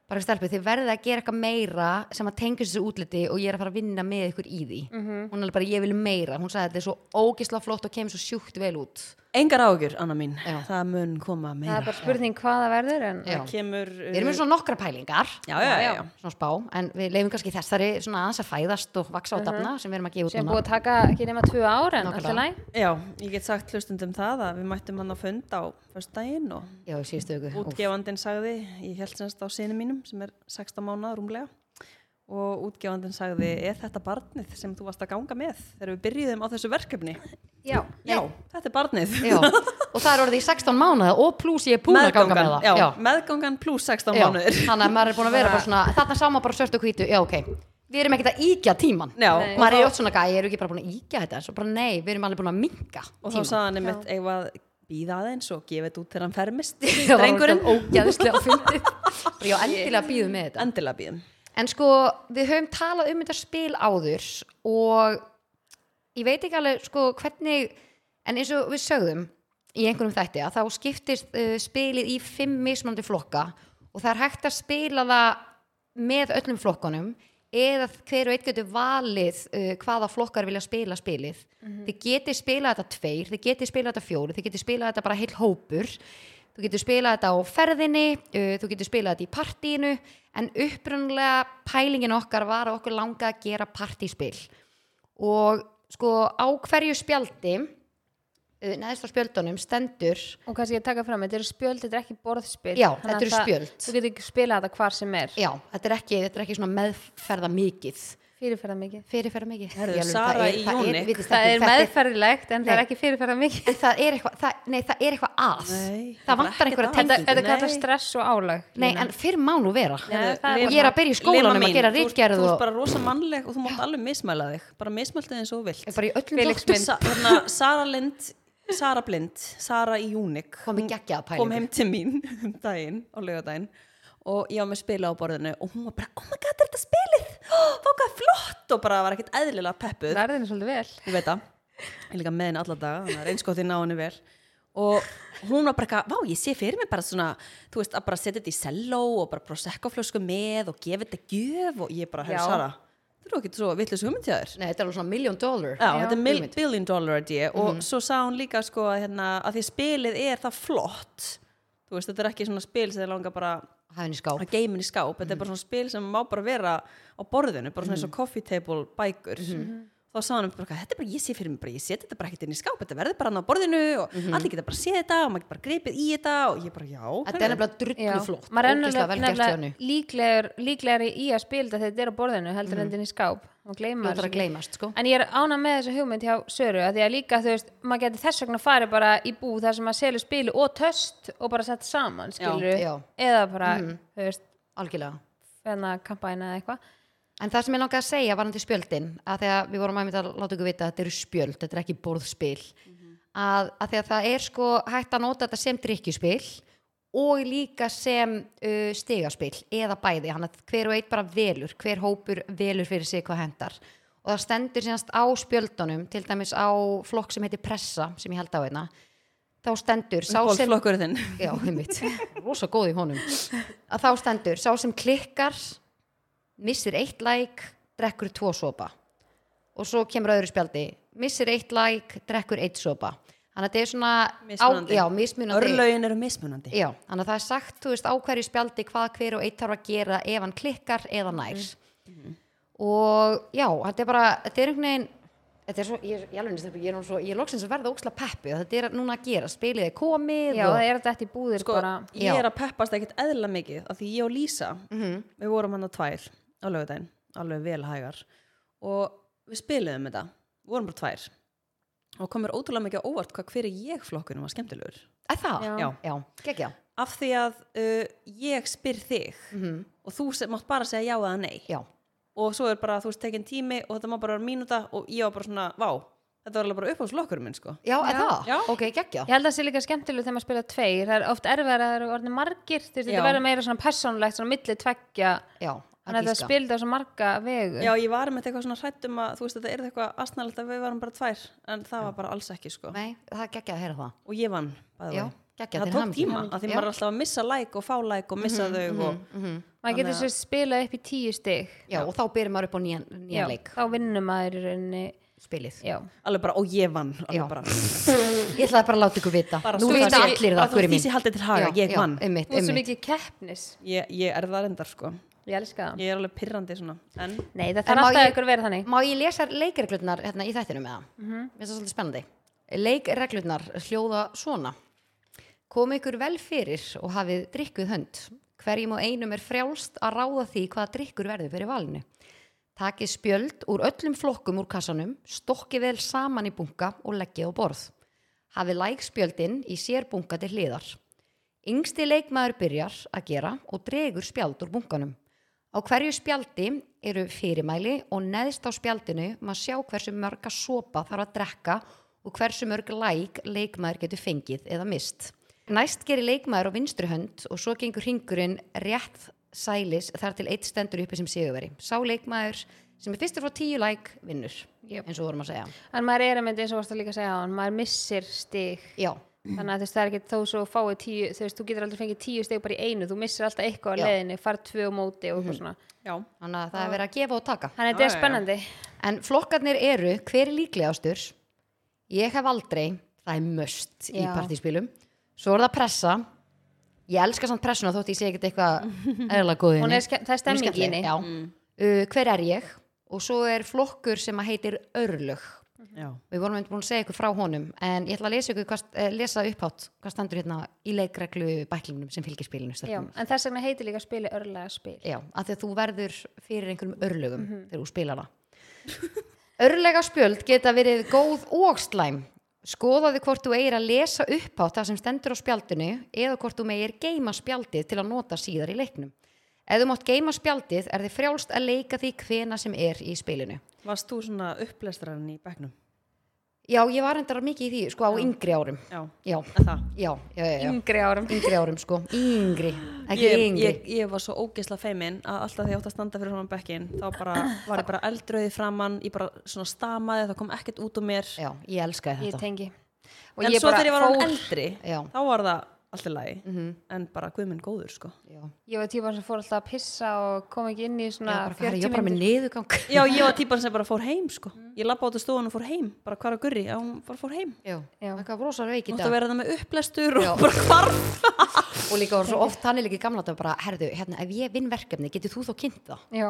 Speaker 2: bara stelpið, þið verðið að gera eitthvað meira sem að tengja þessu útliti og ég er að fara að vinna með ykkur í því
Speaker 1: Mhm.
Speaker 2: hún er alveg bara, ég vil meira, hún sagði þetta er svo ógisla flott og kemur svo sjúkt vel út
Speaker 1: Engar ágjur, Anna mín.
Speaker 2: Já.
Speaker 1: Það mun koma
Speaker 3: Það er
Speaker 1: meira.
Speaker 3: bara spurning hvað það verður en
Speaker 2: Já.
Speaker 1: Það kemur... eh,
Speaker 2: við erum með svona nokkra pælingar
Speaker 1: Já, já, já, já.
Speaker 2: svona spá, en við leifum kannski þessari svona aðeins að fæðast og
Speaker 1: Mhm.
Speaker 2: vaksa og dafna sem við erum að gefa út
Speaker 3: sem
Speaker 2: núna
Speaker 3: búið að taka ekki nema tvö ár en
Speaker 2: Nákvæmlega.
Speaker 3: alltaf læg.
Speaker 1: Já, ég get sagt hlustundum það að við mættum hann á fund á föstudaginn og
Speaker 2: já, í síðustu viku. Úff.
Speaker 1: útgefandinn sagði, ég held semst á sinni mínum sem er 16 mánuða rúmlega og útgefandinn sagði, er þetta barnið sem þú varst að ganga með þegar við byrjuðum á þessu verkefni?
Speaker 3: Já.
Speaker 1: Já, þetta er barnið.
Speaker 2: Já, og það er orðið í 16 mánuða og pluss ég er búin að ganga með það
Speaker 1: já, meðgangan pluss 16
Speaker 2: Já,
Speaker 1: mánuðir.
Speaker 2: þannig að maður er búin að vera bara svona þarna sá maður bara svört og hvítu, já ok við erum ekkert að íkja tíman
Speaker 1: Já,
Speaker 3: Nei.
Speaker 1: og
Speaker 2: maður er
Speaker 1: þá-
Speaker 2: oft svona gæi, ég er ekki bara búin að íkja þetta svo bara nei, við erum alveg búin að minka
Speaker 1: og þá sagði hann einmitt eitthvað að býða aðeins og gefa þetta út þegar hann fermist
Speaker 2: drengurinn
Speaker 1: drengurinn,
Speaker 2: ógæðislega fyndið já, endilega býðum með þetta
Speaker 1: endilega býðum
Speaker 2: en sko, við höfum talað um þetta spil áður og ég veit ekki alveg sko hvernig en eins og við sögðum í einhverjum þætti að þá skiptist uh, spilið í fimm mismunandi flokka og það er hægt að spila það með öllum flokkunum eða hver og eitt getur valið uh, hvaða flokkar vilja spila spilið þið getið spilað þetta tveir þið getið spilað þetta fjóri, þið getið spilað þetta bara heil hópur þú getur spilað þetta á ferðinni uh, þú getur spilað þetta í partíinu en upprunlega pælingin okkar var að okkur langa að gera partíspil og sko á hverju spjaldi uh, neðst á spjöldunum stendur
Speaker 3: Og kannski ég taka fram, þetta eru spjöld, þetta er ekki borðspil.
Speaker 2: Já,
Speaker 3: Þannig að
Speaker 2: þetta eru
Speaker 3: það-
Speaker 2: spjöld.
Speaker 3: Þú getur ekki spilað þetta hvar sem er.
Speaker 2: já, þetta er ekki, þetta er ekki svona meðferða mikið
Speaker 3: Fyrirferða mikið.
Speaker 2: fyrirferða mikið
Speaker 1: Herðu, Sara í Unique.
Speaker 3: Það er
Speaker 2: meðferð
Speaker 3: meðferðilegt en það
Speaker 2: Nei.
Speaker 3: er ekki fyrirferða mikið.
Speaker 2: það er eitthvað, það, nei, það er eitthvað að
Speaker 1: Nei,
Speaker 2: það
Speaker 1: bara
Speaker 2: vantar
Speaker 1: ekkert
Speaker 2: einhverja
Speaker 1: að.
Speaker 2: tengingu
Speaker 1: Þetta-
Speaker 3: Þetta
Speaker 1: Nei.
Speaker 3: kallar stress og álag.
Speaker 2: nei, en fyrr má nú vera
Speaker 3: Nei, það er
Speaker 2: ég er að byrja í skólanum að gera
Speaker 1: þú
Speaker 2: ritgerð
Speaker 1: ert
Speaker 2: og-
Speaker 1: bara rosa mannleg og þú mátt alveg mismæla þig bara mismæltu þig eins og þú vilt
Speaker 2: bara í öllum
Speaker 3: Felix
Speaker 2: þáttum.
Speaker 3: minn.
Speaker 1: Sa, hérna, Sara Lind Sara Blind, Sara í Júnik
Speaker 2: Kom með geggjaða pælingu.
Speaker 1: kom heim til mín um daginn, á laugardaginn og ég á með spila á borðinu og hún var bara, oh my god, er þetta spilið oh, hvað flott og bara var ekkert eðlilega peppuð
Speaker 3: Það er þetta svolítið vel.
Speaker 1: ég veit það ég er líka með henni alla daga, þannig að reynskóttin á henni vel og hún var bara eitthvað vá, ég sé fyrir mig bara svona, þú veist að bara setja þetta í selló og bara proseccoflösku með og gefa þetta gjöf og ég bara,
Speaker 3: Já.
Speaker 1: herr Sara, þú eru ekki svo vitlis hugmynd hjá þér
Speaker 2: nei, þetta er alveg svona million dollar
Speaker 1: Já, þetta er mil,
Speaker 2: hugmynd.
Speaker 1: billion dollar idea og svo sá hún líka sko að, hérna, að því spilið er það flott þú veist, þetta er ekki svona spil sem þið langar bara
Speaker 2: hafinn í skáp
Speaker 1: að geymin í skáp,
Speaker 2: Mhm.
Speaker 1: þetta er bara svona spil sem má bara vera á borðinu, bara svona eins og coffee table bækur
Speaker 2: Mhm.
Speaker 1: þá sá hann bara, þetta er bara, ég sé fyrir mig bara, ég set þetta bara ekkert inn í skáp þetta verður bara hann á borðinu og
Speaker 2: Mhm.
Speaker 1: allir geta bara séð þetta og maður getur bara gripið í þetta og ég bara, já
Speaker 2: þetta er nefnilega drullu flott
Speaker 3: maður er
Speaker 2: ógeðslega vel gert hjá henni.
Speaker 3: nefnilega líklegur, líklegri í að spila þetta þegar þetta er á borðinu heldur mm. endin í skáp og gleyma
Speaker 2: Fljótar að gleymast, sko.
Speaker 3: en ég er ána með þessu hugmynd hjá Söru að því að líka þú veist, maður getur þess vegna farið bara í bú þar sem maður selur spilu og töst og bara sett saman, skilur
Speaker 2: Já. Mm.
Speaker 3: eða bara, þú veist,
Speaker 2: algjörlega
Speaker 3: fennar kampæna eða eitthvað
Speaker 2: En það sem ég langaði að segja varandi spjöldin að þegar við vorum aðeins að láta ykkur vita að þetta eru spjöld, þetta er ekki borðspil að, að því að það er sko hægt að nota þetta sem drikkjuspil og líka sem uh, stigaspil eða bæði, hann að hver og einn bara velur, hver hópur velur fyrir sig hvað hendar og það stendur sínast á spjöldunum, til dæmis á flokk sem heitir pressa, sem ég held á einna þá stendur, sá sem
Speaker 1: bólflokkur þinn
Speaker 2: já, einmitt, rosa góð í honum að þá stendur, sá sem klikkar missir eitt læk drekkur tvo sopa og svo kemur öðru spjaldi missir eitt læk, drekkur eitt sopa þannig að þetta er svona
Speaker 1: Mismunandi.
Speaker 2: á, já, mismunandi
Speaker 1: örlögin eru mismunandi
Speaker 2: já, þannig að það er sagt, þú veist, á hverju spjaldi hvað hver og eitt þarf að gera ef hann klikkar eða
Speaker 1: Mhm.
Speaker 2: nær og já, þetta er bara þetta er einhvern veginn Þetta er svo, ég, ég, alveg, stelpur, ég, er nú svo, ég er loksins að verða óksla peppi og þetta er núna að gera, spilið er komið
Speaker 3: já,
Speaker 2: og...
Speaker 3: það er þetta í búðir
Speaker 1: sko,
Speaker 3: bara
Speaker 1: ég
Speaker 2: Já.
Speaker 1: er að peppast ekkert eðla mikið af því ég og Lísa,
Speaker 2: Mhm.
Speaker 1: við vorum hann á tvær á lögudaginn, alveg vel hægar og við spiluðum þetta við vorum bara tvær og komur ótrúlega mikið á óvart hvað hver er ég flokkunum var skemmtilegur
Speaker 2: Er það?
Speaker 3: Já.
Speaker 1: Já.
Speaker 2: Já, geggja.
Speaker 1: af því að uh, ég spyr þig
Speaker 2: Mhm.
Speaker 1: og þú se- mátt bara segja já eða nei
Speaker 2: Já,
Speaker 1: og svo er bara, þú veist, tekin tími og þetta má bara vera mínúta og ég var bara svona, vá þetta var alveg bara upphásflokkurinn minn, sko
Speaker 2: já, er
Speaker 3: Já.
Speaker 2: það?
Speaker 1: Já.
Speaker 2: Ok, geggja.
Speaker 3: Ég held að það sé líka skemmtileg þegar maður spila tveir, það er oft erfæra að það eru orðin margir, þú veist,
Speaker 1: Já.
Speaker 3: þetta verður meira svona persónulegt, svona milli tveggja
Speaker 2: Já,
Speaker 3: Þannig að það
Speaker 2: giska.
Speaker 3: spildi á svo marga vegu.
Speaker 1: Já, ég var með eitthvað svona hrætt um að þú veist að það er eitthvað astnalegt að við varum bara tvær en það var bara alls ekki sko
Speaker 2: Nei, það er geggjað að heyra það
Speaker 1: og ég vann by the
Speaker 2: Já,
Speaker 1: way.
Speaker 2: geggjað, til
Speaker 1: það tók
Speaker 2: hamingju.
Speaker 1: tíma að því
Speaker 2: Já. Mhm,
Speaker 1: maður er alltaf að missa like og fá like og missa þau og
Speaker 3: Maður getur svo spilað upp í tíu stig.
Speaker 2: Já, og þá byrjum maður upp á nýjan, nýjan leik
Speaker 3: þá vinnum maður í rauninni.
Speaker 2: spilið.
Speaker 3: Já.
Speaker 1: alveg bara og ég vann alveg
Speaker 2: Já.
Speaker 1: bara,
Speaker 2: Ég ætlaði bara að láta ykkur vita.
Speaker 1: bara
Speaker 2: Nú
Speaker 1: svo
Speaker 2: vita
Speaker 1: það sé-
Speaker 2: allir
Speaker 1: bara
Speaker 2: það, hverju
Speaker 1: því
Speaker 2: mín.
Speaker 1: sé haldið til haga, ég vann
Speaker 2: Einmitt,
Speaker 3: Þú er svo
Speaker 2: einmitt.
Speaker 3: mikið keppnis.
Speaker 1: ég, ég er það endar sko
Speaker 3: Ég elska það.
Speaker 1: ég er alveg pirrandi svona en
Speaker 3: Nei, það
Speaker 2: En
Speaker 3: þarf
Speaker 2: má
Speaker 3: alltaf
Speaker 2: ég-
Speaker 3: ykkur að vera þannig.
Speaker 2: Má ég lesa leikreglurnar hérna í þættinu með það? Mér finnst það svolítið spennandi. Leikreglurnar hljóða svona. Kom ykkur vel fyrir og hafið drikkuð hönd. Hverjum og einum er frjálst að ráða því hvaða drikkur verður fyrir valinu. Takið spjöld úr öllum flokkum úr kassanum, stokkið vel saman í bunka og leggið á borð. Hafið lækspjöldin í sér bunka til hliðar. Yngsti leikmaður byrjar að gera og dregur spjald úr bunkanum. Á hverju spjaldi eru fyrirmæli og neðst á spjaldinu maður sjá hversu mörga sopa þarf að drekka og hversu mörg læk leikmaður getur fengið eða mist. Næst gerir leikmaður á vinstri hönd og svo gengur hringurinn rétt sælis þar til eitt stendur uppi sem sigurveri. Sá leikmaður sem er fyrstur frá tíu læk vinnur,
Speaker 3: Jöp.
Speaker 2: eins og vorum að segja.
Speaker 3: En maður er að mynda eins og varst að líka að segja á hann, maður missir stig.
Speaker 2: Já,
Speaker 3: Þannig að þú veist, það er ekki þó svo fáið tíu, þú veist, þú getur aldrei fengið tíu steg bara í einu, þú missir alltaf eitthvað á
Speaker 2: Já. Mm.
Speaker 3: leiðinni, far tvö á móti og eitthvað svona.
Speaker 1: já,
Speaker 2: þannig að það er verið að gefa og taka.
Speaker 3: Þannig að þetta
Speaker 1: Já,
Speaker 3: er
Speaker 1: já, já.
Speaker 3: spennandi.
Speaker 2: En flokkarnir eru, hver er líklegastur? Ég hef aldrei, það er möst í
Speaker 3: Já.
Speaker 2: partíspilum. Svo er það pressa. Ég elska samt pressuna þótt ég sé ekkert eitthvað eðla góðinni.
Speaker 3: Hún er ske- það er stemming í henni. Mm.
Speaker 2: Já. Uh, hver er ég? Og svo er flokkur sem að heitir örlög.
Speaker 1: já.
Speaker 2: Við vorum einmitt búin að segja ykkur frá honum, en ég ætla að lesa, ykkur, hvað, eh, lesa upphátt hvað standur hérna í leikreglu bæklingnum sem fylgir spilinu.
Speaker 3: Já,
Speaker 2: stelpurnar.
Speaker 3: en þess vegna heitir líka spili örlega spil.
Speaker 2: Já, af því að þú verður fyrir einhverjum örlögum
Speaker 1: Mhm.
Speaker 2: þegar þú spilar það. Örlega spjöld geta verið góð og slæm. Skoðaðu hvort þú eigir að lesa upp á það sem stendur á spjaldinu eða hvort þú megir geima spjaldið til að nota síðar í leiknum. Ef þú mátt geima spjaldið er þið frjálst að leika því hvena sem er í spilinu.
Speaker 1: varst þú svona upplestrarinn í bekknum
Speaker 2: Já, ég var endara mikið í því, sko, á yngri árum.
Speaker 1: já,
Speaker 2: Já,
Speaker 1: en það
Speaker 2: já, já, já, já.
Speaker 3: Yngri árum.
Speaker 2: yngri árum, sko. Yngri, ekki
Speaker 1: ég,
Speaker 2: yngri.
Speaker 1: ég, ég var svo ógeðsla feimin að alltaf þegar ég átt að standa fyrir svona bekkin þá bara var ég bara eldrauði framann ég bara svona stamaði, það kom ekkert út úr mér
Speaker 2: Já, ég elskaði
Speaker 3: Ég
Speaker 2: þetta.
Speaker 3: tengi.
Speaker 1: en svo
Speaker 3: bara
Speaker 1: þegar ég var fór...
Speaker 3: fór-
Speaker 1: eldri
Speaker 2: Já. Mhm.
Speaker 1: þá var það allt í lagi en bara guðminn góður sko
Speaker 2: Já.
Speaker 3: Ég var tíma sem fór alltaf að pissa og kom ekki inn í svona
Speaker 2: Ég bara, herri,
Speaker 3: 40
Speaker 2: ég var bara með
Speaker 3: myndir.
Speaker 2: niðurgang.
Speaker 1: já ég var típan sem bara fór heim sko ég lappa át að stofan og fór heim, bara hvar að gurri að hún bara fór heim,
Speaker 2: Já,
Speaker 3: Já.
Speaker 2: eitthvað rosa veik í
Speaker 1: hún átti
Speaker 2: dag
Speaker 1: að vera það með upplestur og bara hvarf
Speaker 2: og líka var svo oft þannig líka í gamla þetta bara, herðu, hérna, ef ég vinn verkefni, getur þú þá kynnt það?
Speaker 3: Já,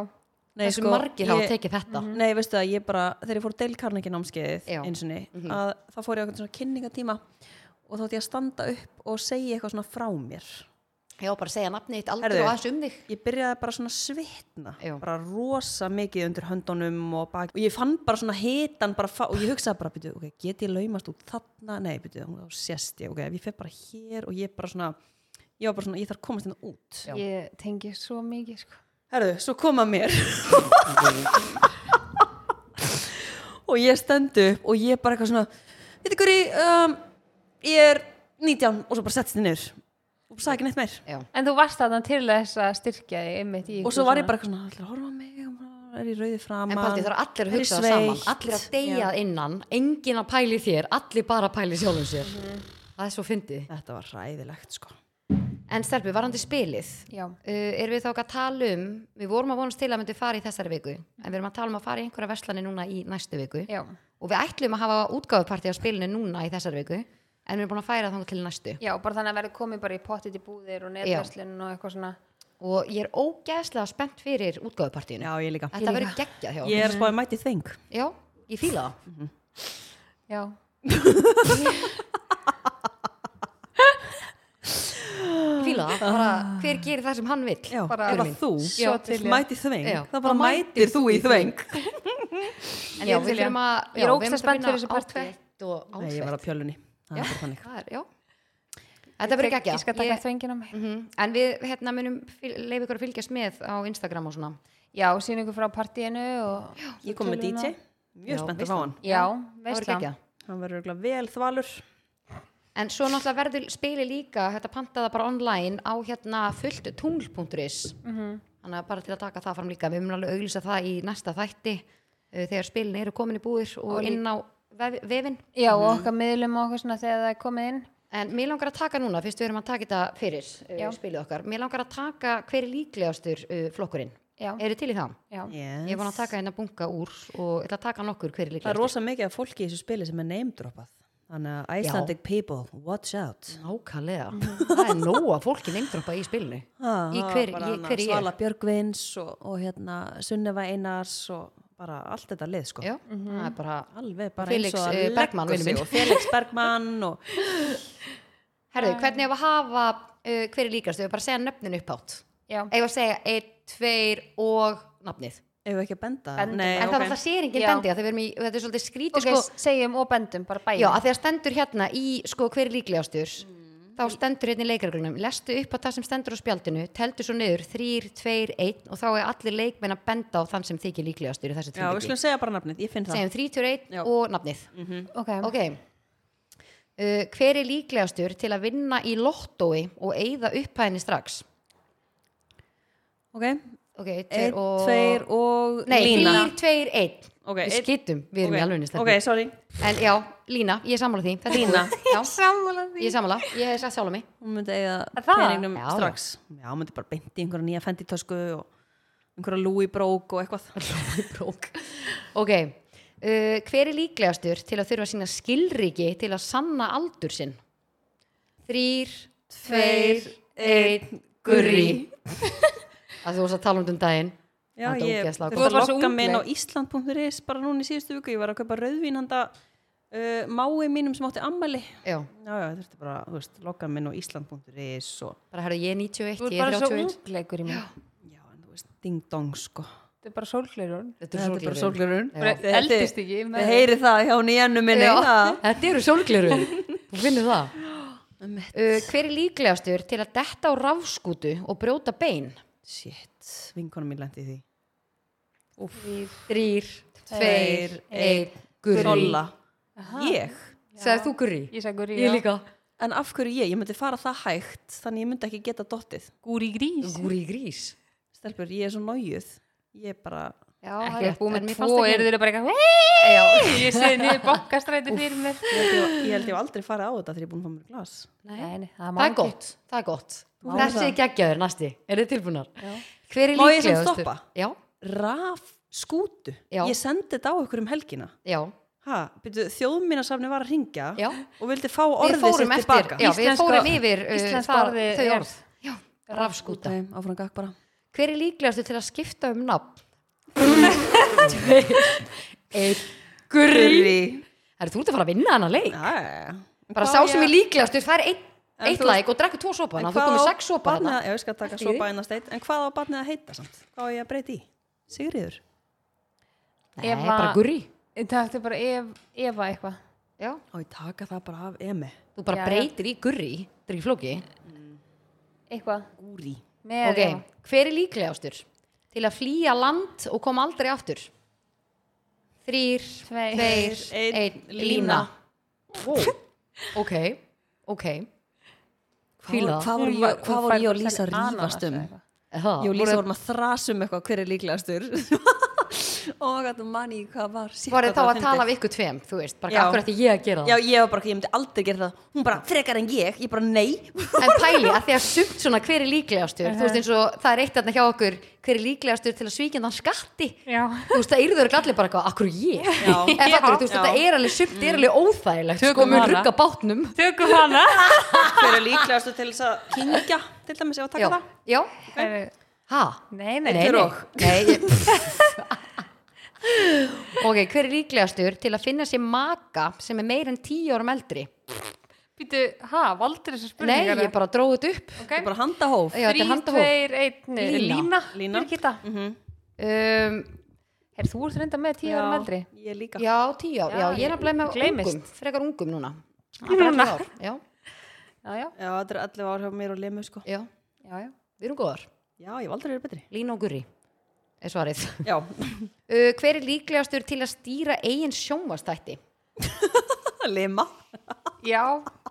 Speaker 1: Nei,
Speaker 2: Þessu
Speaker 1: sko,
Speaker 2: margir hafa
Speaker 1: ég- Mhm.
Speaker 2: tekið þetta
Speaker 1: Nei, veistu það, ég bara, þegar ég fór deilkarnæki námskeið
Speaker 2: Mhm. Já. Mhm.
Speaker 1: eins og ni, að þá fór ég á einhvern svona kynningatíma og þá ætti ég að standa upp og segja eitthvað svona frá mér.
Speaker 2: Já, bara segja nafnið þitt aldur
Speaker 1: Herðu.
Speaker 2: og aðeins um þig
Speaker 1: Ég byrjaði bara svona að svitna,
Speaker 2: Já.
Speaker 1: bara rosa mikið undir höndunum og bak og ég fann bara svona hitan bara fa- og ég hugsaði bara, byrju, ok, get ég laumast út þarna? Nei, byrju, þá sést ég, ok, ef ég fer bara hér og ég bara svona, ég var bara svona, ég þarf að komast hérna út.
Speaker 2: Já.
Speaker 3: ég tengi svo mikið sko.
Speaker 1: Herðu, svo koma mér Og ég stend upp Og ég bara eitthvað svona Þetta hverju, um, ég er 19 Og svo bara settist þið niður Og sagði ekki neitt meir
Speaker 2: Já,
Speaker 3: En þú varst þarna til þess að styrkja þig einmitt í
Speaker 1: Og svo var ég bara eitthvað svona "Ætlar að horfa á mig og bara Er ég rauði
Speaker 2: en
Speaker 1: framan
Speaker 2: paldi þarf allir að
Speaker 1: er ég
Speaker 2: hugsa það saman
Speaker 1: sveitt?"
Speaker 2: allir að deyja
Speaker 1: Já.
Speaker 2: innan, engin að pæli þér allir bara að pæli sjálfum sér
Speaker 1: Mhm.
Speaker 2: Það er svo fyndið
Speaker 1: Þetta var ræðilegt sko
Speaker 2: En stelpi, varandi spilið
Speaker 3: Já.
Speaker 2: uh, erum við þá ekki að tala um við vorum að vonast til að myndi fara í þessari viku en við erum að tala um að fara í einhverja verslani núna í næstu viku
Speaker 3: Já,
Speaker 2: og við ætlum að hafa útgáfupartí á spilinu núna í þessari viku en við erum búin að færa þangar til næstu
Speaker 3: já, bara þannig að verði komið bara í pottit í búðir og netverslun og eitthvað svona
Speaker 2: og ég er ógeðslega spennt fyrir útgáfupartíinu
Speaker 1: Já, ég líka
Speaker 2: þetta verður geggjað hjá okkur.
Speaker 1: Ég er spáði mætið þeng
Speaker 2: já, ég fíla það
Speaker 3: Já,
Speaker 2: ég fíla það, bara hver gerir það sem hann vill
Speaker 1: Já,
Speaker 3: Bara-
Speaker 1: ef að
Speaker 2: Elín.
Speaker 1: þú
Speaker 3: Svo til ég.
Speaker 1: mætið þeng
Speaker 2: Já.
Speaker 1: Það bara mætir þú í þeng
Speaker 2: en já,
Speaker 3: Ég er til
Speaker 2: við
Speaker 3: í
Speaker 2: þurfum
Speaker 3: það.
Speaker 2: að
Speaker 3: Ég er
Speaker 2: já, við
Speaker 3: ógeðslega
Speaker 2: þurfum að
Speaker 3: spennt
Speaker 2: vinna
Speaker 3: fyrir þessu partíi.
Speaker 2: outfit og
Speaker 1: Nei, ég var á
Speaker 2: outfit
Speaker 1: pjölunni Það er bara þannig
Speaker 2: Það er- já. þetta verður
Speaker 3: ég skal taka
Speaker 2: geggjað
Speaker 3: ég...
Speaker 2: Ég-
Speaker 3: þvengin á mig
Speaker 2: Mhm. en við hérna munum leiði ykkur að fylgjast með á Instagram og svona
Speaker 3: Já, sín ykkur frá partíinu og...
Speaker 1: Ég kom með
Speaker 3: Tölum
Speaker 1: DJ,
Speaker 3: að-
Speaker 1: mjög
Speaker 2: Já,
Speaker 1: spennt að fá
Speaker 2: veislan.
Speaker 1: hann
Speaker 3: Já,
Speaker 2: það verður
Speaker 3: veistla
Speaker 2: geggjað
Speaker 1: Hann verður örugglega vel þvalur
Speaker 2: En svo náttúrulega verður spili líka, þetta pantaða bara online á hérna fullt tungl.is. þannig að bara til að taka það fram líka við munum alveg auglýsa það í næsta þætti eh, þegar spilin eru komin í búðir og, inn á vef, vefin
Speaker 3: Já, og
Speaker 2: Mhm.
Speaker 3: okkar miðlum og okkur svona þegar það er komið inn
Speaker 2: en mér langar að taka núna, fyrst við erum að taka þetta fyrir uh, spilið okkar, mér langar að taka hver er líklegastur uh, flokkurinn
Speaker 3: Já.
Speaker 2: eru til í það?
Speaker 3: Já,
Speaker 1: Yes.
Speaker 2: Ég er búin að taka hérna bunga úr og ég ætla að taka nokkur hver er
Speaker 1: Það er
Speaker 2: líklegastur
Speaker 1: rosa mikið af fólki í þessu spili sem er neymdropað. Þannig að Icelandic people, watch out.
Speaker 2: Nákvæmlega, það er nóga fólki neymdropa í spilinu Í hver,
Speaker 1: Ah, bara
Speaker 2: ég,
Speaker 1: hana
Speaker 2: hver ég er
Speaker 1: Svala Björgvins og, og hérna Sunneva Einars og bara allt þetta lið sko.
Speaker 2: Já, Mhm. það er bara
Speaker 1: Alveg bara
Speaker 2: Felix,
Speaker 1: eins og
Speaker 2: eh,
Speaker 1: að
Speaker 2: Bergmann, vinur
Speaker 1: leggur sig
Speaker 2: minn.
Speaker 1: og Felix Bergmann og
Speaker 2: Herðu, hvernig ef að hafa uh, hver er líkast, ef að bara segja nöfnin upphátt
Speaker 3: já,
Speaker 2: Ef að segja einn, tveir og nafnið
Speaker 1: ef ekki að benda.
Speaker 3: Bendum.
Speaker 1: Nei,
Speaker 2: En
Speaker 1: ok.
Speaker 2: það var það sér enginn
Speaker 3: Já.
Speaker 2: bendi að þeir verum í, þetta er svolítið skrítið
Speaker 3: ok,
Speaker 2: sko
Speaker 3: segjum og bendum, bara bæði
Speaker 2: Já, að því að stendur hérna í sko hver er líklegastur
Speaker 1: Mm.
Speaker 2: Þá stendur hérna í leikreglunum, lestu upp á það sem stendur á spjaldinu, teldu svo niður, þrýr, tveir, einn og þá er allir leikmenn að benda á þann sem þykir líklegastur í þessu
Speaker 1: Já, við
Speaker 2: tilviki.
Speaker 1: skulum segja bara nafnið, ég finn það.
Speaker 2: segjum 31
Speaker 1: Já. Mhm.
Speaker 2: og nafnið
Speaker 3: ok,
Speaker 2: ok uh, hver er líklegastur til að vinna í lottói og eigða upphæðinni strax
Speaker 1: Ok,
Speaker 2: ok, tveir
Speaker 1: einn,
Speaker 2: og
Speaker 1: tveir og
Speaker 2: nei,
Speaker 1: Lína.
Speaker 2: þrír, tveir, einn
Speaker 1: Ok,
Speaker 2: við
Speaker 1: einn-
Speaker 2: skitum, við erum í alveg
Speaker 1: Ok, ok, sorry.
Speaker 2: en já, Lína, ég er sammála því Þetta er
Speaker 1: Lína.
Speaker 2: góð. já,
Speaker 3: Sammála
Speaker 2: ég er sammála, ég hef sagt sjálf á mig
Speaker 1: Hún myndi eiga
Speaker 3: það?
Speaker 1: peningnum
Speaker 2: Já.
Speaker 1: strax. Já, hún myndi bara beinti einhverja nýja fenditösku og einhverja Louis Broke og eitthvað.
Speaker 2: brók ok, uh, hver er líklegastur til að þurfa að sína skilriki til að sanna aldur sinn þrýr, tveir, einn gurri að þú varst að tala um þetta um daginn
Speaker 1: Já,
Speaker 2: Þetta er
Speaker 1: ég
Speaker 2: ógeðslega
Speaker 1: þurfti
Speaker 2: gott.
Speaker 1: að
Speaker 3: Þú varst svo
Speaker 1: lokka
Speaker 3: ung,
Speaker 1: mig inn á
Speaker 3: nei.
Speaker 1: Ísland.is bara núna í síðustu viku, ég var að kaupa rauðvínanda uh, mái mínum sem átti ammali
Speaker 2: já
Speaker 1: Já, já, ég þurfti bara, þú veist, lokka mig inn á Ísland.is og,
Speaker 2: bara herru ég er 91,
Speaker 3: Þú
Speaker 2: ég
Speaker 3: ert
Speaker 2: er
Speaker 3: bara svo
Speaker 2: 31
Speaker 3: ungleikur í mér
Speaker 1: já, en þú veist, ding dong, sko
Speaker 3: Þetta er bara sólgleirun
Speaker 2: þetta
Speaker 1: Þetta er bara sólglurun
Speaker 2: Já. Bara
Speaker 3: eldist ekki, ég meina-
Speaker 1: Þið heyri það hjá nýjannu minni hérna. það.
Speaker 2: þetta eru sólgleru þú finnir það uh, hver er líklegastur til að detta á rafskútu og brjóta bein
Speaker 1: Shit, vinkonum mín lendi því
Speaker 2: þrýr,
Speaker 1: Tveir,
Speaker 2: tveir, einn, gurri
Speaker 1: Solla, ég
Speaker 2: sagði þú gurri?
Speaker 3: Ég sagði Guri, já.
Speaker 2: ég líka
Speaker 1: En af hverju ég? Ég myndi fara það hægt þannig ég myndi ekki geta dottið
Speaker 3: Guri grís
Speaker 2: gurri grís
Speaker 1: Stelpur, ég er svo nájuð Ég bara,
Speaker 2: já,
Speaker 3: Ekki að búið
Speaker 2: en
Speaker 3: með
Speaker 2: mér
Speaker 3: tvo
Speaker 2: fannst
Speaker 3: eru
Speaker 2: ekki
Speaker 3: þeir bara eitthvað Ég sé niður bankastræti fyrir mér
Speaker 1: ég held ég, ég, held ég hef aldrei farið á þetta þegar ég er búin að fá mér glas
Speaker 3: Nei, nei, það má
Speaker 2: það er
Speaker 3: ekki.
Speaker 2: gott, það er gott
Speaker 1: Má
Speaker 2: þessi
Speaker 1: það?
Speaker 2: er geggjaður næsti, er þið tilbúinar? hver er
Speaker 1: Má ég sem
Speaker 2: líklegastur?
Speaker 1: stoppa?
Speaker 2: já,
Speaker 1: Raf skútu
Speaker 2: Já.
Speaker 1: Ég sendi þetta á ykkur um helgina
Speaker 2: já,
Speaker 1: ha, byrju, Þjóðminasafni var að ringja
Speaker 2: Já.
Speaker 1: og vildi fá
Speaker 2: við
Speaker 1: orðið
Speaker 2: fórum
Speaker 1: sitt
Speaker 2: eftir
Speaker 1: tilbaka
Speaker 2: já, við
Speaker 3: Íslenska-
Speaker 2: fórum yfir uh,
Speaker 3: íslenska
Speaker 2: það-
Speaker 3: orðið
Speaker 2: þau
Speaker 3: er-
Speaker 2: orð já, rafskúta
Speaker 1: Nei, áfram gakk bara
Speaker 2: Hver er líklegastur til að skipta um nafn? Einn gurri
Speaker 1: Gurri
Speaker 2: Er þú ert að fara að vinna hana leik? Bara
Speaker 1: Bara
Speaker 2: sá sem er líklegastur, það er eitt,
Speaker 1: En
Speaker 2: eitt
Speaker 1: þú-
Speaker 2: læk og drekku tvo sopana Þú komið sex sopa hana
Speaker 1: Já, ég skal taka
Speaker 2: Allt í
Speaker 1: sopa einast eitt En hvað á barnið að heita samt? Hvað á ég að breyti í? Sigriður
Speaker 2: Nei,
Speaker 3: Eva-
Speaker 2: bara gurri
Speaker 3: Það er bara ef, Eva eitthvað
Speaker 2: Já.
Speaker 1: Á ég taka það bara af emi
Speaker 2: Þú bara
Speaker 3: Já, já.
Speaker 2: breytir í gurri Það er ekki flóki
Speaker 3: Eitthvað
Speaker 1: Gúri
Speaker 3: Með
Speaker 2: Ok,
Speaker 3: Eva.
Speaker 2: hver er líklegastur til að flýja land og koma aldrei aftur? Þrýr,
Speaker 3: Tveir,
Speaker 2: tveir,
Speaker 1: einn,
Speaker 2: einn, lína
Speaker 1: lína.
Speaker 2: Ó, Ok, ok Fíla það
Speaker 1: Hvað voru
Speaker 3: Hún
Speaker 1: ég, hvað
Speaker 3: hún
Speaker 1: voru
Speaker 3: fær-
Speaker 1: ég og Lísa að
Speaker 3: sagði ananas
Speaker 1: rífast um?
Speaker 3: eða eitthvað.
Speaker 2: Er það?
Speaker 1: Ég og Lísa vorum að þrasa um eitthvað hver er líklegastur Og hvað þú manni hvað var Shit,
Speaker 2: Var þið
Speaker 1: hvað
Speaker 2: þá
Speaker 1: var
Speaker 2: að
Speaker 1: fyndið.
Speaker 2: tala af ykkur tveim, þú veist, bara
Speaker 1: Já.
Speaker 2: akkur eftir ég að gera
Speaker 1: Já,
Speaker 2: það.
Speaker 1: ég var bara, ég myndi aldrei gera það Hún bara, frekar en ég, ég bara, nei
Speaker 2: En pæli, að því að sumt svona hver er líklegastur, þú veist eins og það er eitt aðna hjá okkur, hver er líklegastur til að svíkja þann skatti?
Speaker 3: Já.
Speaker 2: Þú veist, það yrður ekki allir bara eitthvað, akkur ég?
Speaker 1: Já.
Speaker 2: En fattur, þú veist,
Speaker 1: Já. Mm.
Speaker 2: þetta er alveg sumt, er alveg óþægilegt,
Speaker 3: Tökum
Speaker 2: sko, mun
Speaker 3: hana.
Speaker 2: rugga bátnum.
Speaker 3: Tökum hana
Speaker 1: Hver er líklegastur til þess að kingja Til dæmis, ég var að taka
Speaker 2: Já,
Speaker 1: það
Speaker 2: já,
Speaker 3: Heyrðu,
Speaker 2: ha?
Speaker 3: Nei, nei,
Speaker 2: nei,
Speaker 1: hver
Speaker 2: nei,
Speaker 1: og?
Speaker 2: nei ég... Ok, hver er líklegastur til að finna sér maka sem er meir en tíu árum eldri?
Speaker 3: Býtu, ha, valdur þessu
Speaker 2: Nei,
Speaker 3: spurningar
Speaker 2: ég bara dróðu þetta upp.
Speaker 1: Ég bara handa hóf
Speaker 2: Já, þetta er
Speaker 3: Þrý,
Speaker 2: handahóf.
Speaker 3: tveir, einn eh,
Speaker 2: Lína.
Speaker 3: Lína,
Speaker 1: Lína.
Speaker 3: Birgitta
Speaker 2: Um,
Speaker 3: Herr, þú ert reynda með tíu árum eldri
Speaker 1: Ég líka
Speaker 2: Já, tíu ár, já,
Speaker 3: Já,
Speaker 2: ég er nefnilega með
Speaker 3: gleymist.
Speaker 2: ungum, frekar ungum núna
Speaker 3: Núna.
Speaker 2: Ár, já,
Speaker 3: Já, já,
Speaker 1: Já, þetta er 11 ár hjá mér og lemu, sko
Speaker 2: já,
Speaker 3: já, já
Speaker 2: við erum góðar
Speaker 1: Já, ég var aldrei verið betri
Speaker 2: Lína og Gurri, er svarið uh,
Speaker 1: Já,
Speaker 2: Hver er líklegastur til að stýra eigin sjónvastætti?
Speaker 1: lema
Speaker 3: Já,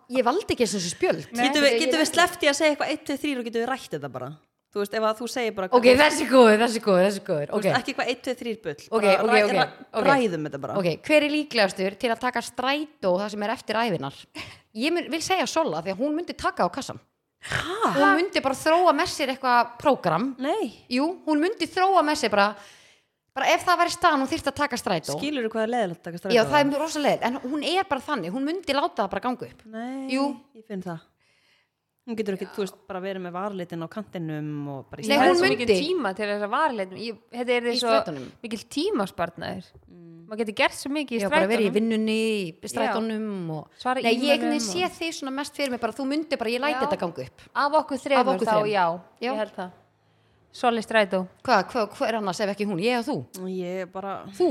Speaker 2: Ég valdi ekki þessu spjöld
Speaker 3: Nei,
Speaker 1: Getum við, getum við sleppt í að segja eitthvað 1, 2, 3 og getum við rætt þetta bara þú veist, ef að þú segir bara
Speaker 2: ok, þessi góður, þessi góður, þessi góður
Speaker 1: þú
Speaker 2: ok,
Speaker 1: veist, ekki hvað 1, 2, 3 bull
Speaker 2: Ok,
Speaker 1: bara
Speaker 2: ok,
Speaker 1: ræ-
Speaker 2: ok,
Speaker 1: ræ-
Speaker 2: ok.
Speaker 1: ræðum þetta bara
Speaker 2: ok, hver er líklegastur til að taka strætó það sem er eftir æfinar ég mun, vil segja Sola því að hún myndi taka á kassan
Speaker 1: Hæ?
Speaker 2: hún myndi bara þróa með sér eitthvað prógram
Speaker 1: Nei,
Speaker 2: jú, hún myndi þróa með sér bara bara ef það væri staðan hún þyrfti að taka strætó
Speaker 1: skilur þú hvað er leiðilegt að taka strætó?
Speaker 2: já, það er rosalegið, en hún er bara þannig hún myndi láta það bara ganga upp
Speaker 1: Nei,
Speaker 2: Jú.
Speaker 1: ég finn það Hún getur ekki, þú veist, bara verið með varlitin á kantinum og bara í
Speaker 2: Nei,
Speaker 3: Ég hefði
Speaker 2: hún
Speaker 3: svo
Speaker 2: myndi.
Speaker 3: mikil tíma til þess að varleitum Þetta er
Speaker 2: Í
Speaker 3: þess svo
Speaker 2: strætónum.
Speaker 3: mikil tímaspartnaður
Speaker 1: Mm.
Speaker 3: Maður getur gert svo mikið í
Speaker 2: já, bara verið í
Speaker 3: strætónum
Speaker 2: vinnunni, í strætónum og...
Speaker 3: Svara
Speaker 2: nei, ég einhvern veginn
Speaker 3: e-mailum
Speaker 2: sé þig svona mest fyrir mig bara þú myndi bara, ég læti
Speaker 3: Já.
Speaker 2: þetta ganga upp
Speaker 3: Af okkur þremur
Speaker 2: okkur
Speaker 3: þá
Speaker 2: þremur.
Speaker 3: já,
Speaker 2: Já.
Speaker 3: Ég held það Soli strætó
Speaker 2: hvað hva, hva er annars ef ekki hún, ég og þú
Speaker 1: Og Ég bara,
Speaker 2: þú,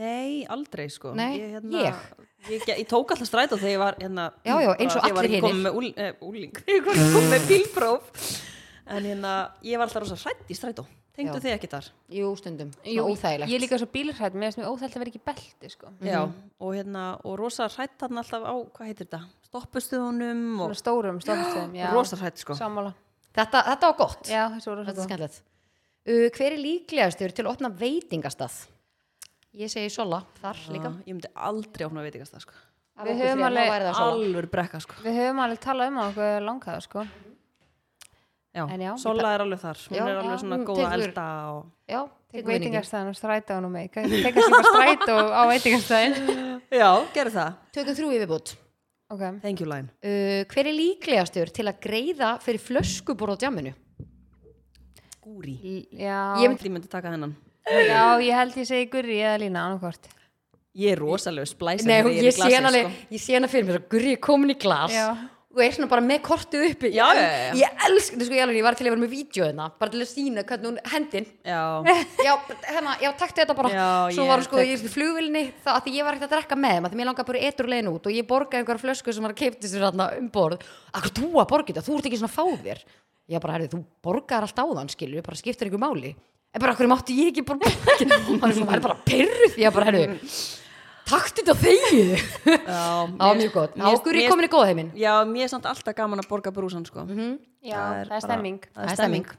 Speaker 1: nei, aldrei sko
Speaker 2: Nei,
Speaker 1: ég,
Speaker 2: ég.
Speaker 1: ég, ge- ég tók alltaf strætó þegar ég var hérna,
Speaker 2: Já, já,
Speaker 1: bara
Speaker 2: eins og
Speaker 1: þegar ég var
Speaker 2: allir
Speaker 1: ekki komin
Speaker 2: hinir.
Speaker 1: með úl, eh, úling, þegar ég var ekki komin með bílpróf En hérna, ég var alltaf rosa hrætt í strætó Tengdu
Speaker 2: Já.
Speaker 1: þið ekki þar?
Speaker 2: jú stundum, jú, óþægilegt Mm.
Speaker 3: Ég er líka svo bílrætt, mér finnst mér óþægt að vera ekki í belti sko.
Speaker 1: Já, og hérna, og rosa hrætt þarna alltaf á, hvað heitir þetta? Stoppustuðunum
Speaker 3: Svona
Speaker 1: og
Speaker 3: stórum, stórum
Speaker 1: rosa hrætt sko
Speaker 3: Sammála
Speaker 2: þetta, þetta var gott,
Speaker 3: Já, þessu voru
Speaker 2: þetta
Speaker 3: svo
Speaker 2: er
Speaker 3: góð.
Speaker 2: skemmtilegt uh, hver er líklegastur til að opna veitingastað ég segi Sola, þar líka
Speaker 1: Ah, Ég myndi aldrei opna veitingast það sko
Speaker 2: Af
Speaker 3: Við
Speaker 2: okkur
Speaker 3: höfum
Speaker 2: þremur
Speaker 3: alveg
Speaker 2: væri það Sola.
Speaker 1: Alvur brekka sko
Speaker 3: Við höfum alveg talað um að okkur langaðu sko.
Speaker 1: Já,
Speaker 3: En já,
Speaker 1: Sola er alveg þar, hún
Speaker 2: Já,
Speaker 1: er alveg
Speaker 2: já,
Speaker 1: svona
Speaker 2: hún
Speaker 1: góð að
Speaker 2: tekur-
Speaker 1: elda og
Speaker 2: já,
Speaker 3: Tek
Speaker 2: tekur vinningin.
Speaker 3: veitingastæðan og strætóan og mig Tekast ég bara strætó á veitingastæðin
Speaker 1: Já, gerðu það
Speaker 2: tökum þrjú yfirbútt
Speaker 3: Ok
Speaker 1: Thank you line
Speaker 2: uh, hver er líklegastur til að greiða fyrir flöskubor á djaminu
Speaker 1: Gúri
Speaker 3: L- Já,
Speaker 1: Ég myndi, ég myndi taka þennan
Speaker 3: já, ég held ég segi Gurri eða Lína annarkvort
Speaker 1: Ég er rosalega splæsar
Speaker 2: Nei,
Speaker 1: þegar
Speaker 2: ég,
Speaker 1: í
Speaker 2: ég,
Speaker 1: sko.
Speaker 2: sé
Speaker 1: glasi,
Speaker 2: hann alveg, ég sé hana fyrir mér og gurri er komin í glas
Speaker 3: Já.
Speaker 2: og er svona bara með kortið uppi
Speaker 1: Já, já,
Speaker 2: ég,
Speaker 1: já, já.
Speaker 2: ég elsk, þú sko ég alveg, ég var til að vera með vídjóðina bara til að sína hvernig hún hendin
Speaker 1: Já,
Speaker 2: já, hérna, já, takti þetta bara
Speaker 1: Já,
Speaker 2: svo
Speaker 1: ég
Speaker 2: var hún sko
Speaker 1: tek-
Speaker 2: í flugvilni þá að því ég var ekkert að drekka með þeim að því mér langaði bara etur leiðin út og ég borgaði einhverja flösku sem var að keipti sér þarna um borð akkur þú að borga þetta, þú ert ekki svona fáðir ég bara, herri, þú borgar allt áðan skilur, bara skiptir ykkur máli en bara, akkur mátti ég ekki bara borga og hann var bara pyrruð, ég bara, herri takti þetta þegið
Speaker 1: já
Speaker 2: það var mjög gott,
Speaker 1: mér-
Speaker 2: ákur
Speaker 1: mér-
Speaker 2: er komin í góð heiminn
Speaker 1: Já, mér er samt alltaf gaman að borga brúsan sko
Speaker 3: Já, það er,
Speaker 1: bara-
Speaker 3: stemming
Speaker 1: Það er stemming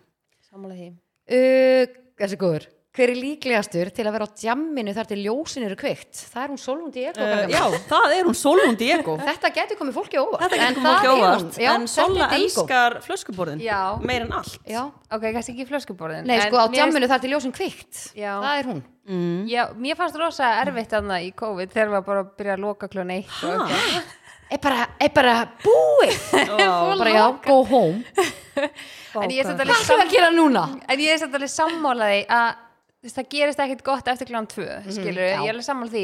Speaker 3: Sammála því
Speaker 2: Uh, þessi góður Hver er líklegastur til að vera á djamminu þar til ljósin eru kveikt? Það er hún Solund í Eko
Speaker 1: Uh, Já, það er hún Solon Diego
Speaker 2: Þetta getur komið fólki á óvart
Speaker 1: Þetta
Speaker 2: en
Speaker 1: getur
Speaker 2: það
Speaker 1: komið
Speaker 2: er hún.
Speaker 1: óvart
Speaker 2: já,
Speaker 1: En Sola
Speaker 2: þetta er Diego.
Speaker 1: elskar flöskuborðin
Speaker 3: Já.
Speaker 1: Meir en allt
Speaker 2: Já,
Speaker 3: Ok, kannski ekki flöskuborðin
Speaker 2: nei
Speaker 3: en
Speaker 2: sko á
Speaker 3: mér-
Speaker 2: djamminu þar til ljósin kveikt
Speaker 3: Já.
Speaker 2: Það er hún
Speaker 3: Já, mér fannst rosa erfitt aðna í COVID þegar maður bara byrja að loka klón eitt og
Speaker 1: Ha?
Speaker 3: eitthvað.
Speaker 2: Er bara, er bara búið
Speaker 1: Ó,
Speaker 2: Bara já, go home
Speaker 1: vá,
Speaker 3: En ég
Speaker 1: hvað-
Speaker 3: er samt alveg
Speaker 2: Hvað ætlum við að gera núna?
Speaker 3: En ég er samt alveg sammálaði að þú veist, það gerist ekkit gott eftir klán 2 skilur,
Speaker 2: Mhm, já.
Speaker 3: ég er alveg sammála því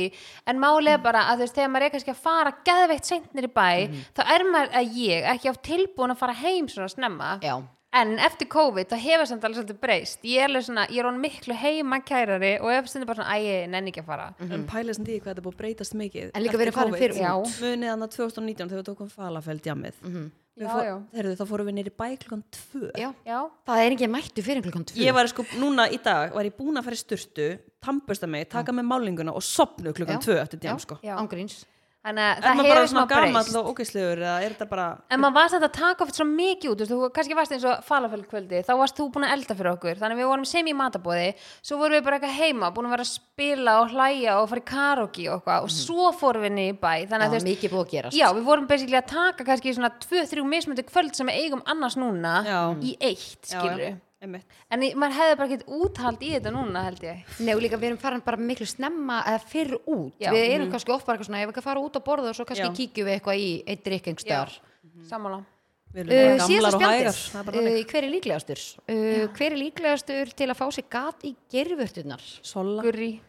Speaker 3: en málið er bara að þú veist, þegar maður er kannski að fara geðveitt seint nýri bæ,
Speaker 2: Mhm.
Speaker 3: þá er maður að ég ekki á tilbúin að fara heim svona snemma,
Speaker 2: Já,
Speaker 3: en eftir COVID þá hefur samt alveg svolítið breyst ég er alveg svona, ég er hún miklu heima kærari og ég er stundur bara svona, æ, ég nenni ekki að fara
Speaker 1: En pæla um sem því hvað þetta er búið að breytast mikið
Speaker 2: Mhm. En líka við erum farin fyrr út.
Speaker 1: Já Munið hann 2019 þegar við tókum falafel djamið
Speaker 3: Já, já.
Speaker 1: Þeirðu þá fórum við nýri bæ klukkan 2
Speaker 2: Mhm. já
Speaker 3: Já,
Speaker 2: Það er ekki mættu fyrir um klukkan tvö
Speaker 1: Ég var sko, núna í dag var ég búin að fara í sturtu Tampusta mig, taka með málinguna og sopnu klukkan 2 eftir djam sko
Speaker 3: Já.
Speaker 2: Ángríns
Speaker 3: þannig að
Speaker 1: Er
Speaker 3: það
Speaker 1: maður bara
Speaker 3: hefur smá
Speaker 1: svona gamall
Speaker 3: breyst
Speaker 1: og ógeðslegur eða er þetta bara
Speaker 3: En maður var samt að taka oft svo mikið út, þú veist, þú kannski varst eins og falafelkvöldi, þá varst þú búin að elda fyrir okkur, þannig að við vorum sem í matabóði, svo vorum við bara eitthvað heima, búin að vera að spila og hlæja og fara í karaoke og eitthvað, og
Speaker 1: Mhm.
Speaker 3: svo fórum við niður í bæ,
Speaker 2: Já,
Speaker 3: þannig að þú veist,
Speaker 2: mikið búið að gerast
Speaker 3: já, við vorum basically að taka kannski svona 2-3 mismöndu kvöld sem við eigum annars núna
Speaker 1: Já.
Speaker 3: í eitt, skilur
Speaker 1: Já, já, einmitt.
Speaker 3: En í- maður hefði bara ekkert úthald í þetta núna, held ég.
Speaker 2: Nei, og líka við erum farin bara miklu snemma eða fyrr út.
Speaker 3: Já.
Speaker 2: Við erum kannski oft bara eitthvað svona, ef við ekki að fara út að borða og svo kannski
Speaker 1: Já.
Speaker 2: kíkjum við eitthvað í eitt drikkingstör.
Speaker 3: Sammála.
Speaker 1: Við erum bara
Speaker 2: Uh,
Speaker 1: gamlar
Speaker 2: síðasta
Speaker 1: og hægar
Speaker 2: spjaldið,
Speaker 1: Það er bara
Speaker 2: uh,
Speaker 1: þannig.
Speaker 2: hver er líklegastur? Uh, hver er líklegastur til að fá sér gat í gerfurtunar?
Speaker 1: Sola
Speaker 3: Gurri.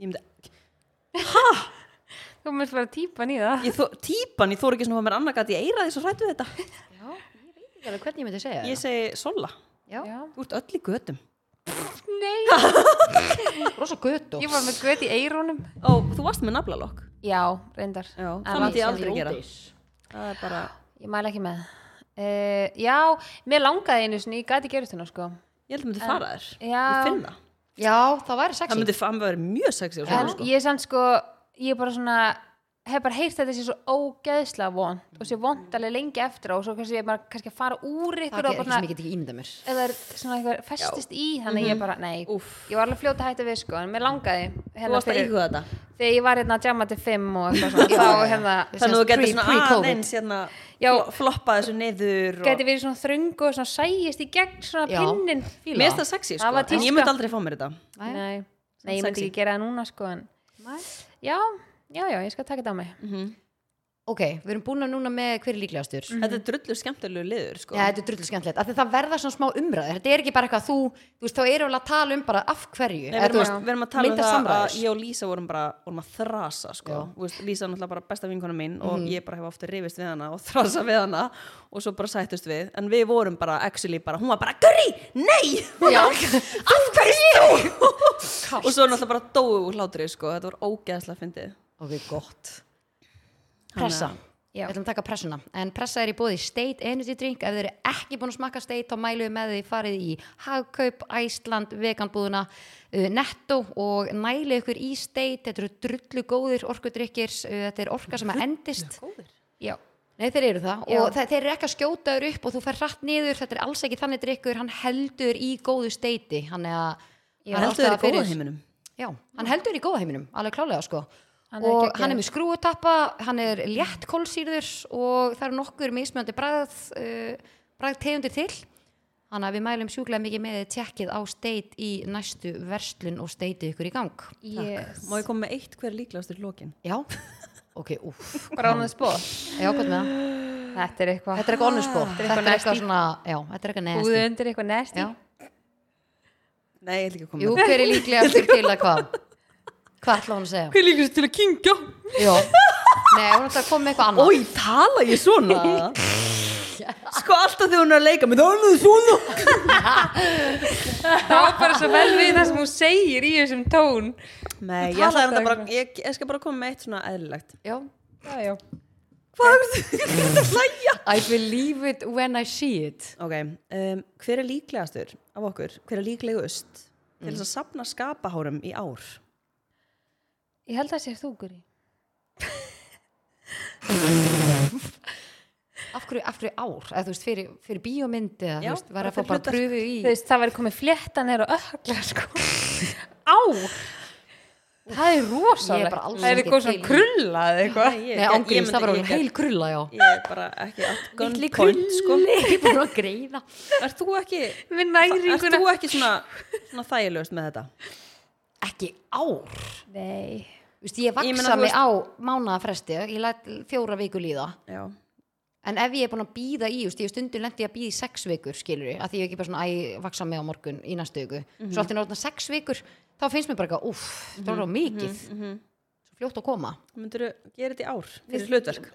Speaker 1: Ég myndi
Speaker 3: Þú mérst bara típan í það.
Speaker 1: Ég þó, típan, ég þóra ekki svona að mér annað gæti ég eira því svo hrættu við þetta.
Speaker 2: Já, ég veit ekki alveg hvernig ég myndi segja
Speaker 1: Ég segi Sola,
Speaker 2: það. Já,
Speaker 3: Já.
Speaker 1: þú ert öll í götum.
Speaker 3: Nei,
Speaker 2: rosa götu.
Speaker 3: ég var með gött í eirónum.
Speaker 1: Ó, þú varst með naflalokk.
Speaker 3: Já, reyndar.
Speaker 1: Já,
Speaker 3: En
Speaker 1: það myndi ég
Speaker 3: langt
Speaker 1: aldrei
Speaker 3: síðan.
Speaker 1: gera. Það er bara,
Speaker 3: Ég mæla ekki með. Uh, já, mér langaði einu sinni, ég gæti gerist hérna sko.
Speaker 1: ég held að myndi fara þér.
Speaker 3: já.
Speaker 1: Ég finn það.
Speaker 2: Já, það væri
Speaker 1: Það
Speaker 2: sexy.
Speaker 1: myndi fara mjög sexy á
Speaker 3: En
Speaker 1: svona sko.
Speaker 3: ég er samt sko, ég er bara svona, hef bara heyrt að þetta sé svo ógeðslega vond og sé vond alveg lengi eftir á og svo kannski ég bara kannski að fara úr
Speaker 2: það
Speaker 3: ykkur
Speaker 2: er
Speaker 3: og
Speaker 2: ekki
Speaker 3: bara
Speaker 2: sem ég get ekki ímynda mér
Speaker 3: eða er svona eitthvað festist í þannig ég bara, nei,
Speaker 1: Úff.
Speaker 3: ég var alveg fljóta hætti við sko, en mér langaði hérna
Speaker 1: Þú varst að íhuga þetta
Speaker 3: þegar ég var hérna að jamma til 5 og eitthvað svona, þá hérna
Speaker 1: Þannig að þú getur
Speaker 2: pre-
Speaker 1: svona
Speaker 2: pre-COVID.
Speaker 1: aðeins hérna,
Speaker 3: Já.
Speaker 1: flo- floppa þessu niður og-
Speaker 3: gæti verið svona þröngu og svona sæjist í gegn svona
Speaker 2: Já.
Speaker 3: pinnin
Speaker 1: Mér finnst það sexy sko,
Speaker 3: Það var
Speaker 1: en ég
Speaker 3: tíska.
Speaker 1: myndi aldrei fá mér þetta
Speaker 2: Nei.
Speaker 3: nei, nei, ég
Speaker 1: Samt
Speaker 3: myndi
Speaker 1: sexy.
Speaker 3: ekki gera það núna sko en
Speaker 2: Nei.
Speaker 3: já, já, já, ég skal taka þetta á mig
Speaker 2: ok, við erum búin að núna með hver er líklegastur
Speaker 1: Þetta
Speaker 3: Mhm.
Speaker 1: er drullu skemmtilegu liður sko
Speaker 2: Já, þetta er drullu skemmtilegt, af því það verða svona smá umræður þetta er ekki bara eitthvað þú, þú veist, þá erum við að tala um bara af hverju
Speaker 1: Nei,
Speaker 2: Eða,
Speaker 1: við,
Speaker 2: þú
Speaker 1: erum að, við erum að tala um
Speaker 2: mynda
Speaker 1: það
Speaker 2: samræður.
Speaker 1: að ég og Lísa vorum bara vorum að þrasa sko.
Speaker 2: Já.
Speaker 1: Þú veist, Lísa er náttúrulega bara besta vinkona mín og ég bara hef ofta rifist við hana og þrasa við hana og svo bara sættust við en við vorum bara, actually bara, hún var bara Guri, nei,
Speaker 2: Já.
Speaker 1: af hverju þú og svo náttúrulega bara dóu úr hlátri sko. þetta var ógeðslega fyndið
Speaker 2: ok, gott pressa
Speaker 3: Já.
Speaker 2: Við ætlum að taka pressuna, en pressa er í bóði State Energy Drink, ef þið eru ekki búin að smakka State þá mælu við með því farið í Hagkaup, Æsland, veganbúðuna uh, Netto og nælu ykkur í State, þetta eru drullu góðir orkudrykkir, uh, þetta er orka sem að endist
Speaker 3: já,
Speaker 2: Nei, þeir eru það
Speaker 3: Já.
Speaker 2: og þe þeir eru ekki að skjóta þér upp og þú fer hratt niður, þetta er alls ekki þannig drikkur, hann heldur í góðu steiti, hann er að
Speaker 3: Já,
Speaker 2: hann er
Speaker 1: heldur þeir
Speaker 2: alltaf
Speaker 1: í góða
Speaker 2: fyrir-
Speaker 1: heiminum
Speaker 2: Já, hann heldur í góða heiminum, alveg klálega sko
Speaker 3: Hann er
Speaker 2: og
Speaker 3: geggjaður.
Speaker 2: hann er með skrúutappa, hann er létt kólsýrður og það eru nokkur mismjöndi bræð, uh, bræð tegundir til þannig að við mælum sjúklega mikið með þið tjekkið á steit í næstu verslun og steitið ykkur í gang
Speaker 3: yes
Speaker 1: Má ég koma með eitt hver líklegastur lókin?
Speaker 2: Já, ok, úff
Speaker 3: bara án þess bóð,
Speaker 2: Já, hvað með það?
Speaker 3: þetta er eitthvað
Speaker 2: Þetta er eitthvað onnur spór, þetta
Speaker 3: Þetta er eitthvað
Speaker 2: er eitthvað
Speaker 3: nasty.
Speaker 2: svona, já, þetta er eitthvað
Speaker 3: búðu
Speaker 2: neðst
Speaker 3: undir eitthvað næst
Speaker 2: Já,
Speaker 1: Nei, ég ætla ekki að koma
Speaker 2: Jú,
Speaker 1: með
Speaker 2: hver er líklegastur til að hvað? Hvað ætla hún að segja?
Speaker 1: Hver líklegastur til að kingja?
Speaker 2: Jó, nei, hún ætla að koma með eitthvað annað
Speaker 1: Ói, tala ég svona? sko alltaf þegar hún er að leika með það er alveg svona
Speaker 3: þá er bara svo vel við það sem hún segir í þessum tón
Speaker 1: Nei, ég,
Speaker 3: talar
Speaker 1: ætlaði
Speaker 3: alltaf
Speaker 1: reyndar bara, ég, ég skal bara koma með eitt svona eðlilegt
Speaker 2: Já,
Speaker 3: já, já,
Speaker 1: Hvað er þetta að hlæja?
Speaker 2: I believe it when I see it
Speaker 1: Ok, um, hver er líklegastur af okkur, hver er líklegust til þess að sapna skapahárum í ár?
Speaker 3: ég held að það sé þú Guri
Speaker 2: Af hverju, af hverju ár, eða þú veist, fyrir, fyrir bíómynd eða þú
Speaker 1: Já,
Speaker 2: veist, var
Speaker 1: bara
Speaker 2: að fá
Speaker 1: fyrir
Speaker 2: bara
Speaker 1: hlutverk.
Speaker 2: pröfu í
Speaker 3: þú veist, það verður komið fléttan er og ökla sko á það er
Speaker 2: Ég er
Speaker 3: rosalegt
Speaker 2: bara alls
Speaker 3: það er
Speaker 2: ekki
Speaker 3: eitthvað
Speaker 2: til í-
Speaker 3: svona krulla eða eitthvað
Speaker 1: Nei,
Speaker 2: Nei,
Speaker 1: ég- ég
Speaker 2: ángríms,
Speaker 1: myndi-
Speaker 2: það var
Speaker 1: ég
Speaker 2: hún heil
Speaker 1: get-
Speaker 2: krulla, já
Speaker 1: Ég er bara ekki at gunpoint sko.
Speaker 2: Ég er bara að greina
Speaker 1: Er þú ekki
Speaker 3: með
Speaker 1: Er
Speaker 3: næringuna
Speaker 1: þú ekki svona, svona þægilegust með þetta?
Speaker 2: Ekki ár
Speaker 3: nei,
Speaker 2: Þú veist, ég
Speaker 1: Ég meina,
Speaker 2: vaksa
Speaker 1: þú
Speaker 2: mig á mánaðafresti Ég læt fjóra vikur líða
Speaker 1: Já,
Speaker 2: En ef ég er búin að býða í, just, ég stundum lendi að býða í sex vikur, skilur ég, að því ég er ekki bara svona, æ, vaksa mig á morgun í næstu viku. Svo allt í náttúrulega sex vikur, þá finnst mér bara eitthvað, úff, það er á mikið, svo fljótt að koma.
Speaker 1: myndirðu gera þetta í ár fyrir hlutverk?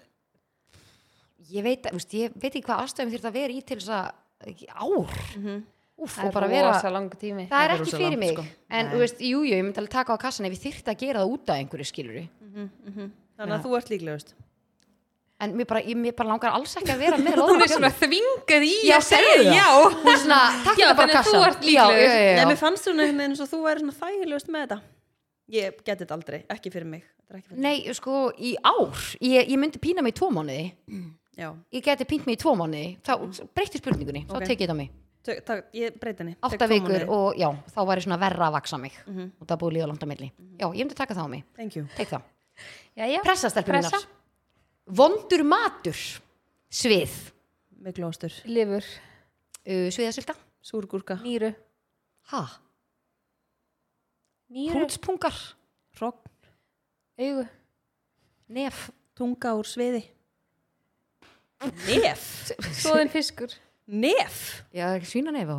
Speaker 2: Ég veit, að- veist, ég veit ekki hvað aðstæðum þurft að vera í til þess að, ekki, ár, úff,
Speaker 3: Mhm. það
Speaker 2: og
Speaker 3: er
Speaker 2: bara
Speaker 3: bara
Speaker 2: vera,
Speaker 3: rosa langu tími
Speaker 2: það er
Speaker 1: er
Speaker 2: ekki
Speaker 1: rosa
Speaker 2: fyrir
Speaker 1: langt,
Speaker 2: mig.
Speaker 1: sko.
Speaker 2: En, þú veist, jú, jú, ég myndi alveg taka á kassan ef ég þyrfti að gera það út af einhverju, skilur mhm.
Speaker 1: Þannig að þú ert líklegust
Speaker 2: En mér bara, ég, mér bara langar alls ekki að vera með
Speaker 3: hún
Speaker 2: loðna
Speaker 3: er svona þvingað í
Speaker 2: Já,
Speaker 3: að segja
Speaker 2: segðu það.
Speaker 3: já
Speaker 2: Hún er svona, takk
Speaker 3: Já,
Speaker 2: þetta bara
Speaker 3: þannig að þú
Speaker 2: kassan.
Speaker 3: ert líklegur.
Speaker 2: Já, já, já, já.
Speaker 1: Nei, mér fannst svona einhvern veginn eins og þú væri svona þægilegust með þetta Ég geti þetta aldrei, ekki fyrir mig Þetta er ekki fyrir mig
Speaker 2: Nei, sko, í ár ég, ég myndi pína mig í tvo mánuði
Speaker 1: Já,
Speaker 2: ég geti pínt mig í tvo mánuði þá mm. breyti spurningunni, þá
Speaker 1: Ok.
Speaker 2: tekið þetta á mig
Speaker 1: tök, tak, ég breyti henni Tek
Speaker 2: átta
Speaker 1: tvo
Speaker 2: vikur
Speaker 1: mánuði.
Speaker 2: og já, þá væri svona verra að vaksa mig
Speaker 3: Mhm.
Speaker 2: og það búið líða langt á milli já, ég myndi taka það á mig,
Speaker 1: Thank you
Speaker 2: tek það
Speaker 3: já, já.
Speaker 2: pressa stelpur
Speaker 3: Pressa.
Speaker 2: minnar vondur matur svið,
Speaker 1: Með glóstur,
Speaker 3: lifur,
Speaker 2: uh, sviðasilda
Speaker 1: súrgúrka,
Speaker 3: nýru
Speaker 2: ha,
Speaker 3: nýru,
Speaker 2: hrútspungar
Speaker 1: rogn,
Speaker 3: augu
Speaker 2: nef,
Speaker 1: tunga úr sviði Nef
Speaker 3: svoðin fiskur
Speaker 1: Nef
Speaker 2: já, er ekki svínanefi og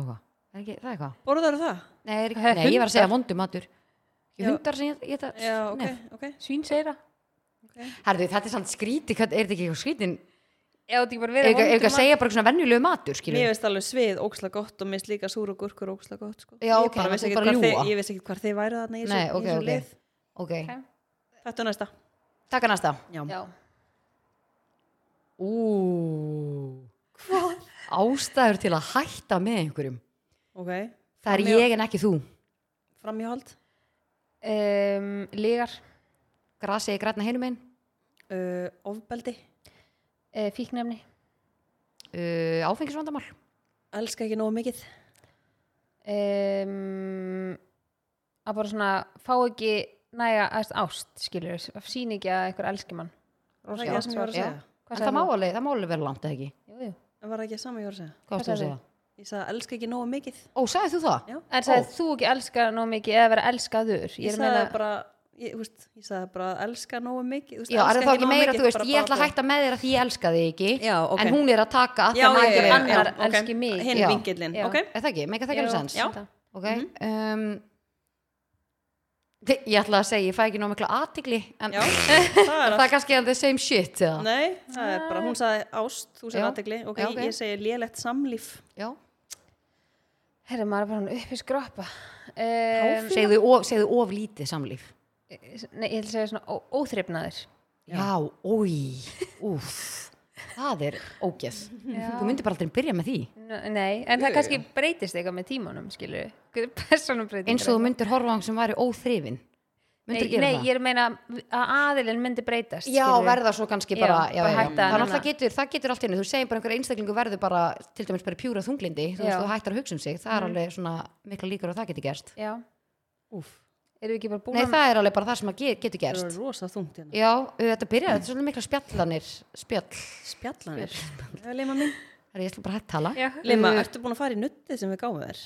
Speaker 2: eitthvað Er ekki- það er eitthvað,
Speaker 1: Borðar það?
Speaker 2: nei, er ekki, nei, ég var að segja vondur matur Ekki
Speaker 1: Já.
Speaker 2: hundar sem ég, ég það,
Speaker 1: Já, ok, ok
Speaker 3: svínseira
Speaker 2: Herðu, þetta er samt skríti, er þetta ekki eitthvað skrítin
Speaker 3: eða þetta ekki bara verið
Speaker 2: Ef ekki að segja bara svona venjulegu matur, skilur
Speaker 1: Mér veist alveg svið óksla gott og mér finnst líka súr og gurkur óksla gott sko.
Speaker 2: Já,
Speaker 1: Ég
Speaker 2: ok,
Speaker 1: bara
Speaker 2: þannig
Speaker 1: vissi
Speaker 2: þú
Speaker 1: ekkert
Speaker 2: bara
Speaker 1: hvar þið- Ég
Speaker 2: ljúga.
Speaker 1: vissi ekki hvar þið værið þarna í þessu-
Speaker 2: Nei,
Speaker 1: í
Speaker 2: ok,
Speaker 1: þessu
Speaker 2: ok.
Speaker 1: lið.
Speaker 2: Ok,
Speaker 1: Þetta er næsta
Speaker 2: takk að næsta
Speaker 1: Já.
Speaker 3: já,
Speaker 2: Ú Ástæður til að hætta með einhverjum
Speaker 1: Ok,
Speaker 2: Það er
Speaker 1: Já.
Speaker 2: ég en ekki þú
Speaker 1: framhjáhald
Speaker 3: um, ligar
Speaker 2: Grasið er grætna hinum einn
Speaker 1: uh, ofbeldi,
Speaker 3: e, fíknefni
Speaker 2: uh, áfengisvandamál
Speaker 1: elska ekki nógu mikið
Speaker 3: um, að bara svona fá ekki næga að ást skilur sín ekki að einhver elski mann
Speaker 1: var það ekki það sem ég var að segja
Speaker 2: já.
Speaker 3: Hvað
Speaker 2: en
Speaker 3: sagði
Speaker 2: það má
Speaker 3: þú?
Speaker 2: alveg, það má alveg vera langt eða ekki
Speaker 3: jú, jú.
Speaker 1: en var það ekki það sama ég var að segja
Speaker 2: hvað varstu að
Speaker 3: sagði
Speaker 2: segja?
Speaker 1: ég sagði elska ekki nógu mikið
Speaker 2: Ó, sagði þú það?
Speaker 1: Já.
Speaker 3: en sagði þú ekki elska nóg mikið eða vera elskaður
Speaker 1: ég,
Speaker 3: er að
Speaker 1: sagði
Speaker 3: meina-
Speaker 1: bara ég, þú veist, ég sagði bara elska nógu mikið þú veist,
Speaker 2: Já, er
Speaker 1: elska
Speaker 2: það þá ekki
Speaker 1: nógu
Speaker 2: meira,
Speaker 1: mikið,
Speaker 2: þú veist,
Speaker 1: bara-
Speaker 2: ég ætla að
Speaker 1: bara-
Speaker 2: hætta með þér að því ég elska þig ekki
Speaker 1: Já, ok.
Speaker 2: en hún er að taka að
Speaker 1: já,
Speaker 2: það
Speaker 1: já,
Speaker 2: mæti
Speaker 1: já, já,
Speaker 3: annar
Speaker 1: ok.
Speaker 3: elski mig.
Speaker 1: hinn
Speaker 2: Já.
Speaker 1: vingillin,
Speaker 3: Já.
Speaker 1: ok
Speaker 2: Er það ekki? Meika það ekki
Speaker 3: Jú,
Speaker 2: alveg sens?
Speaker 3: já.
Speaker 2: Ok,
Speaker 1: Mhm.
Speaker 2: um, þi- Ég ætla að segja, ég fæ ekki nóg mikla aðtigli en
Speaker 1: já, það er
Speaker 2: það er kannski the same shit eða?
Speaker 1: Nei, það er bara, hún sagði ást, þú sagði
Speaker 2: Já.
Speaker 1: aðtegli, ok,
Speaker 2: Já, ok.
Speaker 1: ég segi lélegt samlíf.
Speaker 2: Já,
Speaker 3: Herri, maður er bara hann upp í skroppa. Um,
Speaker 2: segðu of, segðu of lítið samlíf
Speaker 3: nei, ég ætla að segja svona ó- óþrifnaður.
Speaker 2: Já, ói, úff Það er ógeð Þú myndir bara aldrei byrja með því
Speaker 3: N- Nei, en það kannski breytist eitthvað með tímanum, skilur við. Personum breytingar.
Speaker 2: eins og þú myndir horfa á hann sem væri óþrifin myndir
Speaker 3: Nei,
Speaker 2: gera
Speaker 3: nei
Speaker 2: það
Speaker 3: ég er að meina að aðilinn myndi breytast.
Speaker 2: já,
Speaker 3: skilurðu.
Speaker 2: verða svo kannski bara,
Speaker 3: Já,
Speaker 2: já, já,
Speaker 3: bara
Speaker 2: já,
Speaker 3: hætta
Speaker 2: Þannig
Speaker 3: að
Speaker 2: að
Speaker 3: nenna-
Speaker 2: það getur, það getur allt í henni þú segir bara einhver einstaklingu verður bara til dæmis bara pjúra þunglindi þú, veist,
Speaker 3: Já.
Speaker 2: þú hættar að hugsa um sig, það er
Speaker 1: Mhm.
Speaker 2: alveg svona mikla líkur að það getur gerst
Speaker 3: Já.
Speaker 1: Úf,
Speaker 3: Erum við ekki bara búin
Speaker 2: nei, það er alveg bara það sem að ge getur
Speaker 1: það
Speaker 2: gerst
Speaker 1: er rosa þungt hérna.
Speaker 2: já, uh, þetta byrjar, þetta er svona mikla spjallanir spjall,
Speaker 1: Spjallanir. Já, Lima mín. Uh,
Speaker 2: það er ég ætla bara að hætta að tala
Speaker 3: Já.
Speaker 1: Lima, ertu búin að fara í nuttið sem við gáum þér?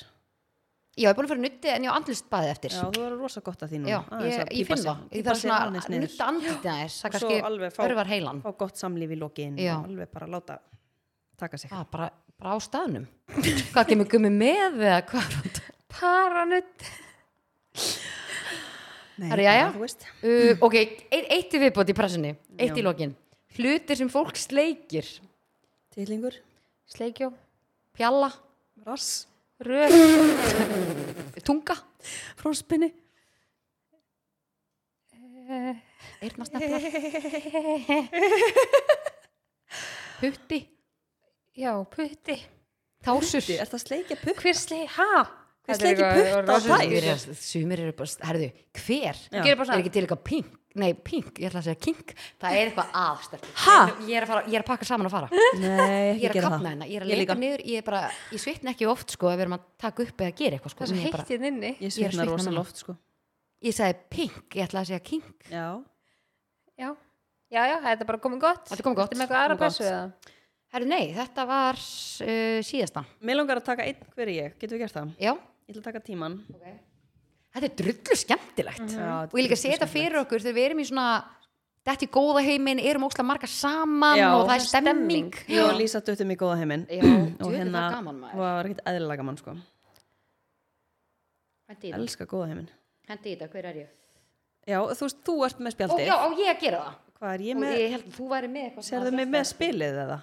Speaker 2: já, ég er búin að fara nutti en ég á andlist bæði eftir
Speaker 1: Já,
Speaker 2: já,
Speaker 1: þú verður rosa gott að því núna. Aðeins
Speaker 2: ég,
Speaker 1: að
Speaker 2: ég
Speaker 1: pípa
Speaker 2: finn
Speaker 1: sig-
Speaker 2: það ég
Speaker 1: pípa
Speaker 2: þarf
Speaker 1: sig
Speaker 2: svona
Speaker 1: aðeins
Speaker 2: að
Speaker 1: niður.
Speaker 2: nutta andlitið aðeins það
Speaker 1: Og svo alveg fá-
Speaker 2: kannski örvar heilan
Speaker 1: Fá gott samlíf í lokin
Speaker 2: Já.
Speaker 1: og alveg bara láta taka sig.
Speaker 2: Ah, bara, bara á staðnum hvað kemur gummi með eða hvað er þetta?
Speaker 3: Paranutt.
Speaker 1: Nei,
Speaker 2: Herra, jæja.
Speaker 1: bara, þú veist.
Speaker 2: uh, ok, eitt, eitt í viðbót í pressunni eitt í
Speaker 1: Já.
Speaker 2: lokin hlutir sem fólk sleikir
Speaker 1: Tillingur,
Speaker 3: Sleikjó.
Speaker 2: pjalla,
Speaker 1: rass,
Speaker 3: Röð.
Speaker 2: tunga,
Speaker 1: fróspinni.
Speaker 2: eyrnasneflar putti,
Speaker 3: Já, putti.
Speaker 2: tásur
Speaker 1: Er það sleikja putt?
Speaker 3: Hver sleik? Hæ?
Speaker 1: Hver sleikir putta á þær?
Speaker 2: Sumir eru- sumir eru bara, herðu, hver
Speaker 1: Já.
Speaker 2: er ekki til eitthvað pink nei, pink, ég ætla að segja kink það er eitthvað aðstætt
Speaker 1: Ha?
Speaker 2: ég er að, fara, ég er að pakka saman og fara
Speaker 1: Nei,
Speaker 2: ég
Speaker 1: ekki
Speaker 2: er að
Speaker 1: gera
Speaker 2: kapna
Speaker 1: það.
Speaker 2: hérna, ég er að
Speaker 1: Ég
Speaker 2: leika
Speaker 1: líka.
Speaker 2: niður ég, er bara, ég svitna ekki oft sko ef við erum að taka upp eða gera eitthvað sko
Speaker 3: Það er svo
Speaker 2: Ég er bara-
Speaker 3: heitt hérna inni.
Speaker 1: Ég
Speaker 2: Ég er að
Speaker 1: svitna
Speaker 2: svitna
Speaker 1: rosa
Speaker 2: núna.
Speaker 1: loft, sko.
Speaker 2: ég sagði pink, ég ætla að segja kink
Speaker 1: Já.
Speaker 3: Já. Já, já, þetta er bara komið gott.
Speaker 2: Þetta er komið gott.
Speaker 3: Þetta er með eitthvað aðra
Speaker 2: Komið gott.
Speaker 3: pressu eða?
Speaker 2: herru nei, þetta var uh, síðasta
Speaker 1: Mér langar að taka einn hver ég, getum við gert það?
Speaker 2: já,
Speaker 1: Ég ætla að taka tíman.
Speaker 2: þetta er drullu skemmtilegt
Speaker 1: Já,
Speaker 2: og ég líka að setja fyrir okkur þegar við erum í svona þetta er góða heiminn, erum ókslega marga saman
Speaker 1: Já.
Speaker 2: og það er
Speaker 3: Það er
Speaker 2: stemming,
Speaker 3: stemming.
Speaker 1: Ég og Lísa döttum í góða heiminn
Speaker 2: Já, djöfull
Speaker 1: og
Speaker 2: er
Speaker 1: hérna
Speaker 2: það gaman, maður.
Speaker 1: var ekkert eðlilega gaman sko
Speaker 2: Hendi í þetta,
Speaker 1: elska góða heiminn
Speaker 2: hendi í þetta, hver er ég?
Speaker 1: Já, þú veist, þú ert með
Speaker 2: Ó,
Speaker 1: spjaldið
Speaker 2: já, á ég að gera það
Speaker 1: Hvað er ég
Speaker 2: og
Speaker 1: með,
Speaker 2: ég held að þú væri með eitthvað
Speaker 1: serðu mig með spilið eða?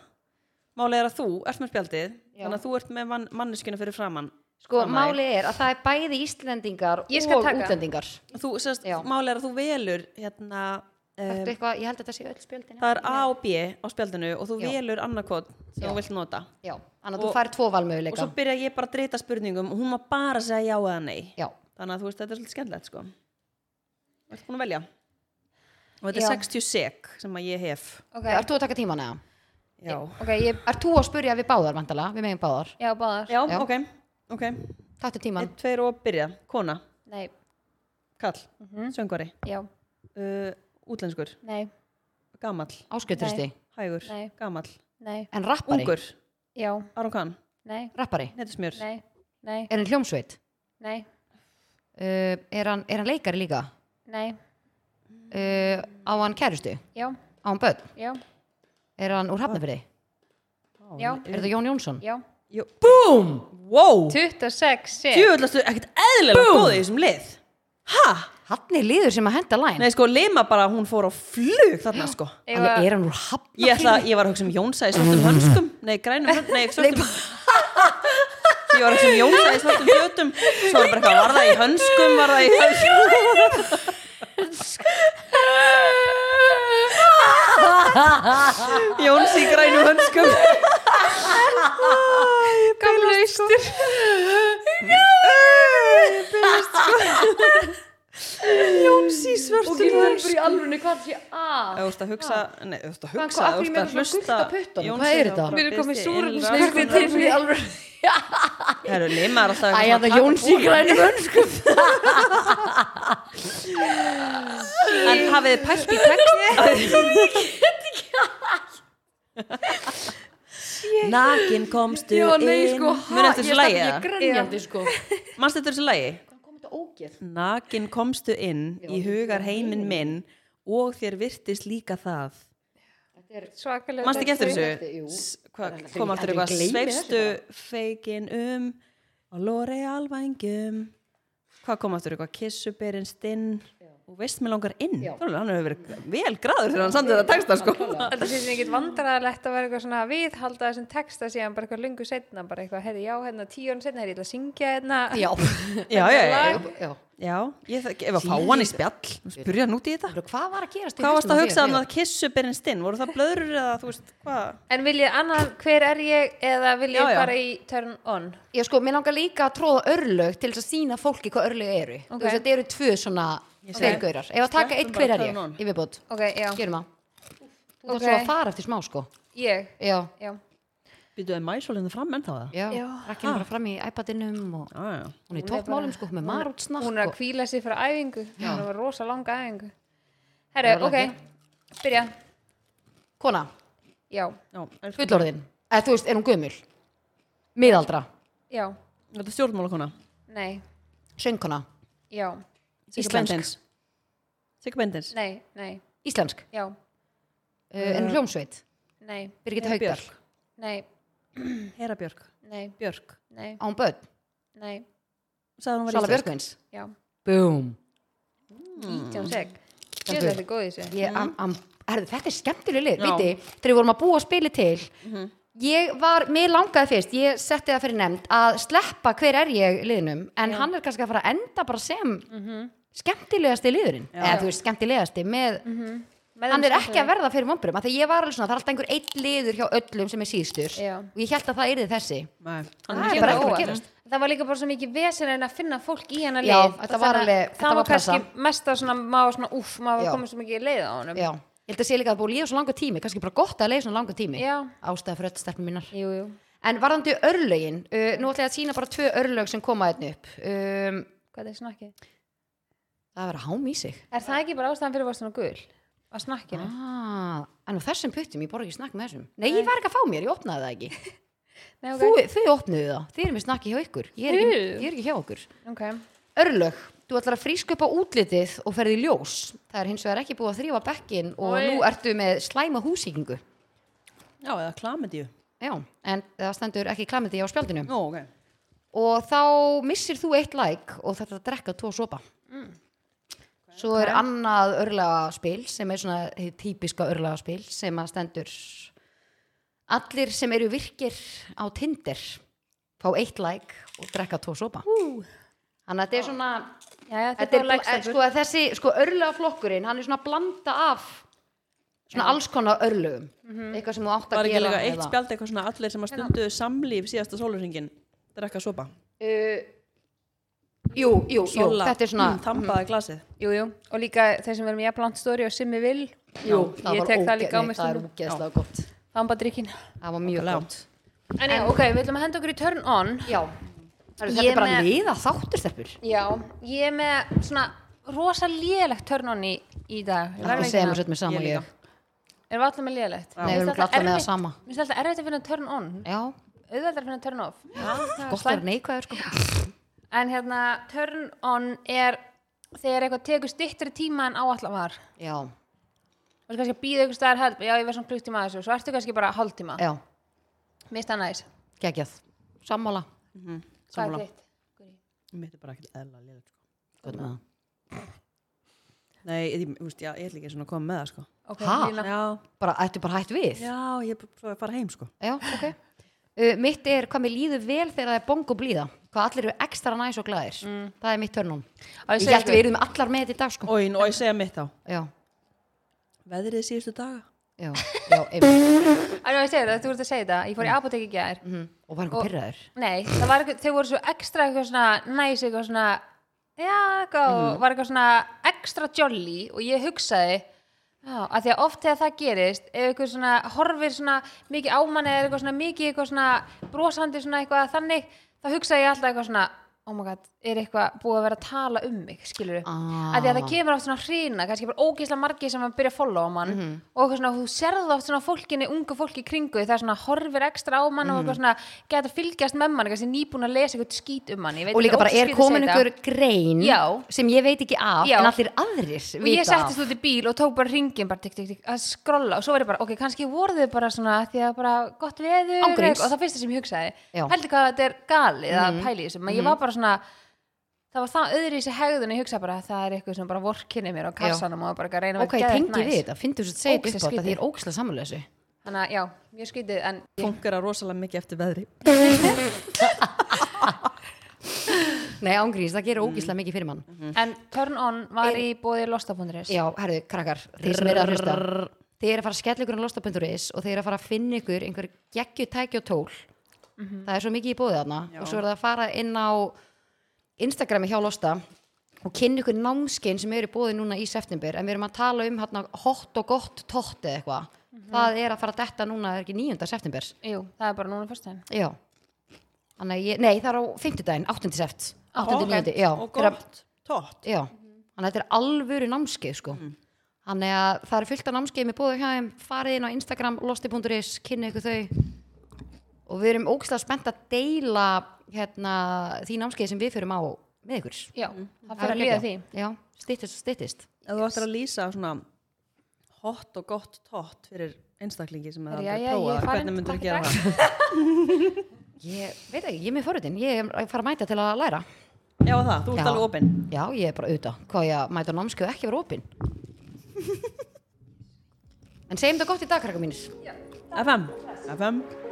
Speaker 1: Málið er að þú ert með spjaldið þannig að þú ert með man, manneskina fyrir framann
Speaker 2: sko,
Speaker 1: Sama í.
Speaker 2: málið er að það er bæði Íslendingar
Speaker 3: Ég skal
Speaker 2: og
Speaker 3: taka.
Speaker 2: útlendingar
Speaker 1: þú, sérst,
Speaker 2: Já.
Speaker 1: Málið er að þú velur hérna, um,
Speaker 2: Taktu eitthvað, ég held að þetta sé öll spjöldin
Speaker 1: það er A og B á spjaldinu og þú
Speaker 2: Já.
Speaker 1: velur annarkot sem
Speaker 2: Já.
Speaker 1: þú vilt nota
Speaker 2: Já, annað þú
Speaker 1: Og-
Speaker 2: færi tvo
Speaker 1: og svo
Speaker 2: valmöguleika
Speaker 1: byrja ég bara að drita spurningum og hún má bara segja já eða nei
Speaker 2: Já,
Speaker 1: þannig að þú veist, þetta er svolítið skemmtilegt sko Ertu búin að velja? Og þetta
Speaker 3: Já.
Speaker 1: er 60 sek sem að ég hef
Speaker 3: Ok.
Speaker 2: ert þú að taka tíman eða?
Speaker 1: Já,
Speaker 3: Ok, ég...
Speaker 2: Ert þú að spurja við báðar, vantala, við megin báðar
Speaker 3: Já, báðar.
Speaker 1: já,
Speaker 2: Já.
Speaker 1: ok, ok
Speaker 2: Taktu tíman
Speaker 1: Einn, tveir og byrja, kona,
Speaker 3: Nei.
Speaker 1: kall,
Speaker 2: Mhm.
Speaker 1: söngvari
Speaker 3: Já.
Speaker 1: uh, Útlenskur,
Speaker 3: Nei.
Speaker 1: gamall,
Speaker 2: Áskjöldristi,
Speaker 1: hægur,
Speaker 3: Nei.
Speaker 1: gamall
Speaker 3: Nei.
Speaker 2: en rappari
Speaker 1: Ungur,
Speaker 3: Já.
Speaker 1: Aron Kahn,
Speaker 3: Nei.
Speaker 2: Rappari,
Speaker 1: netusmjör
Speaker 3: Nei. Nei.
Speaker 2: er hann í hljómsveit
Speaker 3: Nei.
Speaker 2: uh, er, hann, er hann leikari líka
Speaker 3: Nei.
Speaker 2: uh, Á hann kærustu,
Speaker 3: Já.
Speaker 2: á hann börn
Speaker 3: Já.
Speaker 2: Er hann úr hafnafyrði,
Speaker 3: Já.
Speaker 2: er þetta Jón Jónsson
Speaker 3: Já.
Speaker 1: Jú, BOOM, wow
Speaker 3: 26 sek.
Speaker 1: Tjöðlastu ekkert eðlilega góð í þessum lið Ha?
Speaker 2: Hann er liður sem að henda læn
Speaker 1: Nei sko, Lima bara, hún fór á flug þarna sko
Speaker 2: Alveg er hann úr hafnafyrði
Speaker 1: Ég, ætla, ég var að hugsa um Jónsa í svartum hönskum Nei, grænum hönskum Nei, svartum Ég var að hugsa um Jónsa í svartum fjötum Svo var bara eitthvað, var það í hönskum Var það í hönskum Jóns í grænum hönskum
Speaker 3: Gamla austur.
Speaker 1: Jóns í svartum hönskum
Speaker 2: okkur í alvöru hvað sé að
Speaker 1: Ef þú ert að hugsa, nei, ef þú ert að
Speaker 2: Hvað-
Speaker 1: hugsa,
Speaker 2: hvað-
Speaker 1: ef
Speaker 2: af hverju
Speaker 1: þú ert
Speaker 2: með svona gult á puttunum? Hvað er þetta?
Speaker 3: Mér er komið súrefnisvöxtur
Speaker 2: Nei,
Speaker 3: Skurði
Speaker 2: sko,
Speaker 3: til.
Speaker 2: í alvöru
Speaker 1: Það eru limar alltaf
Speaker 2: Æ,
Speaker 1: eitthvað
Speaker 2: það
Speaker 1: svona
Speaker 2: er Jóns í
Speaker 1: taka
Speaker 2: grænum önskum
Speaker 1: búin. En hafið þið pælt í texti? Nakin komstu
Speaker 2: Já, nei,
Speaker 1: inn
Speaker 2: sko, ha,
Speaker 1: Munið eftir þessu lægi
Speaker 2: Ég
Speaker 1: eða?
Speaker 2: grænjandi, sko
Speaker 1: Manstu eftir þessu lægi?
Speaker 2: Hvað kom þetta ógeð?
Speaker 1: Nakin komstu inn í hugar heiminn minn og þér virtist líka það
Speaker 2: Þetta er
Speaker 3: Svakalega
Speaker 1: Manstu ekki eftir
Speaker 2: Þetta- jú.
Speaker 1: þessu? S- Hvað
Speaker 2: Þetta-
Speaker 1: kom aftur
Speaker 2: þetta-
Speaker 1: eitthvað?
Speaker 2: ég gleymi þessu
Speaker 1: Sveifstu feikin um og lóri alvængjum Hvað kom aftur eitthvað? Kissuberinn stinn og veist mér langar inn
Speaker 2: Já.
Speaker 1: Þorlega, hann hefur verið vel græður þegar hann samt þetta texta sko
Speaker 3: Þetta sé sem ekkit vandræðilegt að vera eitthvað svona að viðhalda þessum texta síðan bara eitthvað lungu setna, bara eitthvað, heyrði, já, hérna, tíu árum setna, heyrði, ég ætla að syngja hérna.
Speaker 2: Já,
Speaker 1: Já, já, já, já.
Speaker 2: já
Speaker 1: já ég þekki- ef að fá hann í spjall spyrja hann út í þetta
Speaker 2: Hvað var að gerast? í
Speaker 1: Hvað varst að
Speaker 2: hausnum á
Speaker 1: hugsa
Speaker 2: þér?
Speaker 1: um að kissuberinn stinn? Voru það blöður eða þú veist hvað?
Speaker 3: En viljið annað, hver er ég eða viljið
Speaker 1: Já, já.
Speaker 3: bara í turn on?
Speaker 2: Já, sko, mér langar líka að tróða örlög til þess að sína fólki hvað örlög eru. Þú veist, þetta eru tvö svona
Speaker 1: segi-
Speaker 2: tveirgaurar. Ef að taka eitt
Speaker 1: Sleppum
Speaker 2: hver
Speaker 1: bara
Speaker 2: er ég,
Speaker 1: turn on.
Speaker 2: í viðbót.
Speaker 3: Ok, já,
Speaker 2: Gerum það. Þú þarf
Speaker 3: Ok.
Speaker 2: svo að fara eftir smá, sko.
Speaker 3: ég,
Speaker 2: Já,
Speaker 3: já.
Speaker 1: Býtu að mæsólinu fram ennþá það?
Speaker 2: já.
Speaker 3: Já.
Speaker 2: Rakkinn er bara fram í iPadinum og
Speaker 1: Já, já.
Speaker 2: hún er í toppmálum, sko, með marútsnakk.
Speaker 3: Hún er að
Speaker 2: og-
Speaker 3: hvíla sig frá æfingu, hún er að rosa langa æfingu.
Speaker 2: Það
Speaker 3: Herru,
Speaker 2: er
Speaker 3: ok, byrja,
Speaker 2: Kona,
Speaker 3: já,
Speaker 1: já elsku-
Speaker 2: fullorðin. Eða þú veist, er hún gömul? Miðaldra.
Speaker 3: já,
Speaker 1: Þetta er stjórnmálakona
Speaker 3: nei,
Speaker 2: Söngkona.
Speaker 3: já,
Speaker 1: Sigga
Speaker 2: Íslensk.
Speaker 1: Bendins Sigga Bendins
Speaker 3: nei, nei,
Speaker 2: Íslensk.
Speaker 3: já,
Speaker 2: Uh, en hljómsveit.
Speaker 3: nei,
Speaker 2: Birgit
Speaker 1: Hera
Speaker 2: Haugdal.
Speaker 1: Björk.
Speaker 3: nei,
Speaker 1: Hera Björk
Speaker 3: nei,
Speaker 1: Björk
Speaker 3: nei,
Speaker 2: Án börn.
Speaker 3: nei,
Speaker 1: Sagði hún var
Speaker 2: Svala
Speaker 1: íslensk
Speaker 2: Björgvins.
Speaker 3: já,
Speaker 2: Búm.
Speaker 3: ítján seg. Ég er þetta góð í þessu.
Speaker 2: ég, am, am, herðu, þetta er skemmtileg lið,
Speaker 1: Já.
Speaker 2: viti þegar við vorum að búa spili til
Speaker 3: Mhm.
Speaker 2: ég var, mér langaði fyrst ég setti það fyrir nefnd að sleppa hver er ég liðnum, en hann er kannski að fara að enda bara sem
Speaker 3: Mhm.
Speaker 2: skemmtilegasti liðurinn, eða þú veist skemmtilegasti með,
Speaker 3: Mhm, Með
Speaker 2: hann
Speaker 3: þeim
Speaker 2: er ekki að verða fyrir vonbrum, af því ég var alveg svona, það er alltaf einhver eitt liður hjá öllum sem er síðstur
Speaker 3: Já.
Speaker 2: og ég held að það yrði þessi
Speaker 1: Nei, hann
Speaker 2: Það
Speaker 1: er
Speaker 2: er
Speaker 1: ekki
Speaker 2: bara
Speaker 1: það.
Speaker 2: ekkert að
Speaker 3: óvart.
Speaker 2: gerast.
Speaker 3: það var líka bara svo mikið vesen en að finna fólk í hennar
Speaker 2: Já,
Speaker 3: leið
Speaker 2: þetta var alveg- þetta
Speaker 3: það
Speaker 2: var
Speaker 3: var
Speaker 2: pressa.
Speaker 3: kannski mesta svona, maður var svona úff, maður
Speaker 2: Já.
Speaker 3: var komið svo mikið í leið á honum
Speaker 2: Já. ég held að sé líka að það búið að líða svo langa tími kannski bara gott að leiða svona langa tími
Speaker 3: Já.
Speaker 2: ástæða fyrir öll stelpum mínar
Speaker 3: jú, jú,
Speaker 2: En varðandi örlögin, uh, nú ætla ég að sína bara tvö örlög sem koma þetta upp. Um,
Speaker 3: hvað er snakkið?
Speaker 2: það er að vera hám í sig.
Speaker 3: er það ekki bara ástæðan fyrir að vera svona gul á snakkinu?
Speaker 2: Ah, en á þessum puttum, ég borði ekki snakk með þessum. Nei, ég var ekki að fá mér, ég opnaði það ekki.
Speaker 3: Nei, ok,
Speaker 2: Þú, þau opnuðu það, þið erum með snakki hjá ykkur. Ég er, ekki,
Speaker 3: Þið?
Speaker 2: ég er ekki hjá okkur.
Speaker 3: ok,
Speaker 2: Örlög, þú ætlar að fríska upp á útlitið og ferði í ljós. Það er hins vegar ekki búið að þrýfa bekkin og
Speaker 3: Oj.
Speaker 2: nú ertu með slæma húsíkingu.
Speaker 1: Já, eða klamendíu
Speaker 2: Já, en það stendur ekki klamandi á spjaldinu.
Speaker 1: Nú, ok
Speaker 2: og þá missir þú eitt læk og þetta er að drekka tvo sopa svo er annað örlagaspil sem er svona hið típiska örlagaspil sem að stendur allir sem eru virkir á Tinder fá eitt læk og drekka tvo sopa þannig að þetta er svona
Speaker 3: Jæja, þið
Speaker 2: þetta er,
Speaker 3: fáið
Speaker 2: bl-
Speaker 3: like,
Speaker 2: eh, sko, þessi sko, örlagaflokkurinn hann er svona blanda af svona alls konar örlögum eitthvað sem þú átt
Speaker 1: Var
Speaker 2: að
Speaker 1: ekki
Speaker 2: gera
Speaker 1: líka eitt
Speaker 2: eða- Hérna.
Speaker 1: spjald eitthvað svona allir sem að stundu samlíf síðasta sólurringin drekka sopa
Speaker 2: jú, jú, jú,
Speaker 1: Sola,
Speaker 2: þetta er svona
Speaker 1: mm, Tampaði glasið
Speaker 3: jú, jú, og líka þeir sem verðum jafnlant stóri og simmi vil
Speaker 2: Jú,
Speaker 3: ég tek það líka á mig
Speaker 2: það er
Speaker 3: stundum
Speaker 2: úgeðslega gott
Speaker 3: þambadrykkin
Speaker 2: Það var mjög
Speaker 1: Nákvæmlega.
Speaker 2: gott
Speaker 3: en já, ok, við ætlum að henda okkur í turn on
Speaker 2: Já, þetta
Speaker 3: Ég
Speaker 2: er bara
Speaker 3: með-
Speaker 2: liða þáttur stelpur
Speaker 3: já, ég er með svona rosa lélegt turn on í, í dag Ég verð
Speaker 2: Það segja
Speaker 3: að viðurkenna.
Speaker 2: mér sett með sama
Speaker 1: Ég
Speaker 2: og ég
Speaker 1: líka.
Speaker 3: Erum við alltaf með liðlegt?
Speaker 2: Nei, við erum ekki alltaf með það sama.
Speaker 3: Mér finnst alltaf erfitt að finna turn on,
Speaker 2: Já,
Speaker 3: auðvitað að finna turn off. Það er
Speaker 2: gott að
Speaker 3: slæmt.
Speaker 2: vera neikvæður sko
Speaker 3: En hérna, turn on er þegar eitthvað tekur styttri tíma en áallan var.
Speaker 2: Já,
Speaker 3: Þú veist kannski að býða ykkur staðar held, já ég verð svona klukktíma að þessu, svo ertu kannski bara hálftíma.
Speaker 2: já,
Speaker 3: Mér finnst það næs.
Speaker 2: geggjað Sammála
Speaker 3: Hvað
Speaker 1: Sammála.
Speaker 3: er þitt?
Speaker 1: Mitt er bara ekkert eðla lélegt sko.
Speaker 2: Gott með það.
Speaker 1: Nei, ég, ég, veist, já, ég ætla ekki svona að koma með það sko.
Speaker 3: Ok,
Speaker 2: Ha?
Speaker 3: Lína.
Speaker 1: Já,
Speaker 2: Bara, ættu bara hætt við Já,
Speaker 1: já, ég er bara að fara heim sko.
Speaker 2: ok Uh, Mitt er hvað mér líður vel þegar það er bong og blíða Hvað allir eru ekstra næs og glæðir
Speaker 3: Mm.
Speaker 2: Það er mitt törnum
Speaker 3: Á, ég
Speaker 2: Ég
Speaker 3: segi
Speaker 2: held
Speaker 3: ykkur-
Speaker 2: við erum allar með þetta í dag sko
Speaker 1: Og, og ég segja mitt á
Speaker 2: Já,
Speaker 1: Veðrið síðustu daga
Speaker 2: já, já einmitt.
Speaker 3: Á, já, ég segi það, þú ert að segja það, ég fór í apotek í gær.
Speaker 2: Mhm. Og var einhver pyrraður
Speaker 3: Nei, það var eitthvað, þau voru svo ekstra eitthvað svona næs, eitthvað svona, já, eitthvað, mm. var eitthvað svona ekstra jolly og ég hugsaði Já, að því að oft þegar það gerist ef eitthvað svona horfir svona mikið ámann eða eitthvað svona mikið eitthvað svona brosandi svona eitthvað þannig þá hugsa ég alltaf eitthvað svona oh my god, er eitthvað búið að vera að tala um mig skilur upp,
Speaker 2: Ah.
Speaker 3: að því að það kemur oft svona hrýna, kannski bara ógeðslega margir sem að byrja að followa mann
Speaker 2: Mhm.
Speaker 3: og eitthvað svona, þú sérðu oft svona fólkinni, ungu fólki í kringu það er svona horfir ekstra á mann og eitthvað
Speaker 2: Mhm.
Speaker 3: svona getur að fylgjast með mann, kannski nýbúin að lesa eitthvað skít um mann, ég veit
Speaker 2: og líka
Speaker 3: þetta
Speaker 2: bara er
Speaker 3: ógeðslega
Speaker 2: komin
Speaker 3: skrítið að segja
Speaker 2: einhver grein
Speaker 3: Já.
Speaker 2: sem ég veit ekki af
Speaker 3: Já.
Speaker 2: en allir aðrir
Speaker 3: og ég
Speaker 2: vita af.
Speaker 3: settist út í bíl og tók bara ringin bara tikk, tikk, tikk, að skrolla og svo var ég bara, ok, kannski voru þau bara svona því að bara gott veður
Speaker 2: Ángríns.
Speaker 3: og það fyrsta sem ég hugsaði,
Speaker 2: Já. Mhm.
Speaker 3: heldur hvað þetta er galið að pæli þessum, mm ég var bara svona það var það öðru í sig hegðun og ég hugsaði bara að það er eitthvað sem bara vorkinni mér á kassanum og bara að reyna að
Speaker 2: ok, ég tengi
Speaker 3: geðveikt
Speaker 2: við
Speaker 3: næs.
Speaker 2: þetta, finnst þú svo að segja þetta upp á þetta
Speaker 3: Ógeðslega
Speaker 2: því
Speaker 3: skrítið.
Speaker 2: ég er ógislega samanlösu
Speaker 3: þannig að já, mjög skrítið en
Speaker 1: Funkar rosalega mikið eftir veðri.
Speaker 2: nei, ángríns, það
Speaker 3: Mm.
Speaker 2: gerir ógislega mikið fyrir mann
Speaker 3: en turn on var í bóði losta.is
Speaker 2: já, herðu, krakkar, þeir sem eru að hlusta þeir eru að fara að skella ykkur en losta.is og þeir eru að fara að finna ykkur einhver geggju tæki og tól
Speaker 1: Mhm.
Speaker 2: það er svo mikið í bóði þarna og svo er það að fara inn á Instagrami hjá Losta og kynna ykkur námskein sem eru í bóði núna í september en við erum að tala um hérna hot og gott tótt eða eitthvað
Speaker 1: Mhm.
Speaker 2: það er að fara að detta núna, það er ekki 9. september
Speaker 3: jú, það er bara núna fyrst þeim
Speaker 2: já Þannig, að ég, nei, það er á 50 daginn, 8. sept 8.
Speaker 1: ok.
Speaker 2: 9. já,
Speaker 1: Og
Speaker 2: þegar-
Speaker 1: gott, tótt.
Speaker 2: Já, þannig að þetta er alvöru námskeið sko. Þannig að það er fullt af námskeið með bóðu hjá þeim, farið inn á Instagram losti.is, kynni ykkur þau og við erum ógstlega spennt að deila hérna, því námskeið sem við förum á með ykkur.
Speaker 3: já, það fyrir að líða því
Speaker 2: Já, styttist og styttist.
Speaker 1: Ef þú ættir að lýsa svona hot og gott tótt fyrir einstaklingi sem það
Speaker 3: Já,
Speaker 1: er
Speaker 3: já,
Speaker 1: að
Speaker 3: ég er
Speaker 1: prófa,
Speaker 3: farin,
Speaker 1: hvernig myndur
Speaker 3: takk
Speaker 1: þú gera
Speaker 3: í dag.
Speaker 1: það?
Speaker 2: Ég veit ekki, ég er með forutin, ég er að fara að mæta til að læra.
Speaker 1: Já, það, þú ert
Speaker 2: Já.
Speaker 1: alveg opinn.
Speaker 2: Já, ég er bara auðvitað, hvað á ég að mæta á námskeið og ekki vera opinn. en segjum þetta gott í dag, krakkar mínir.
Speaker 1: FM, FM.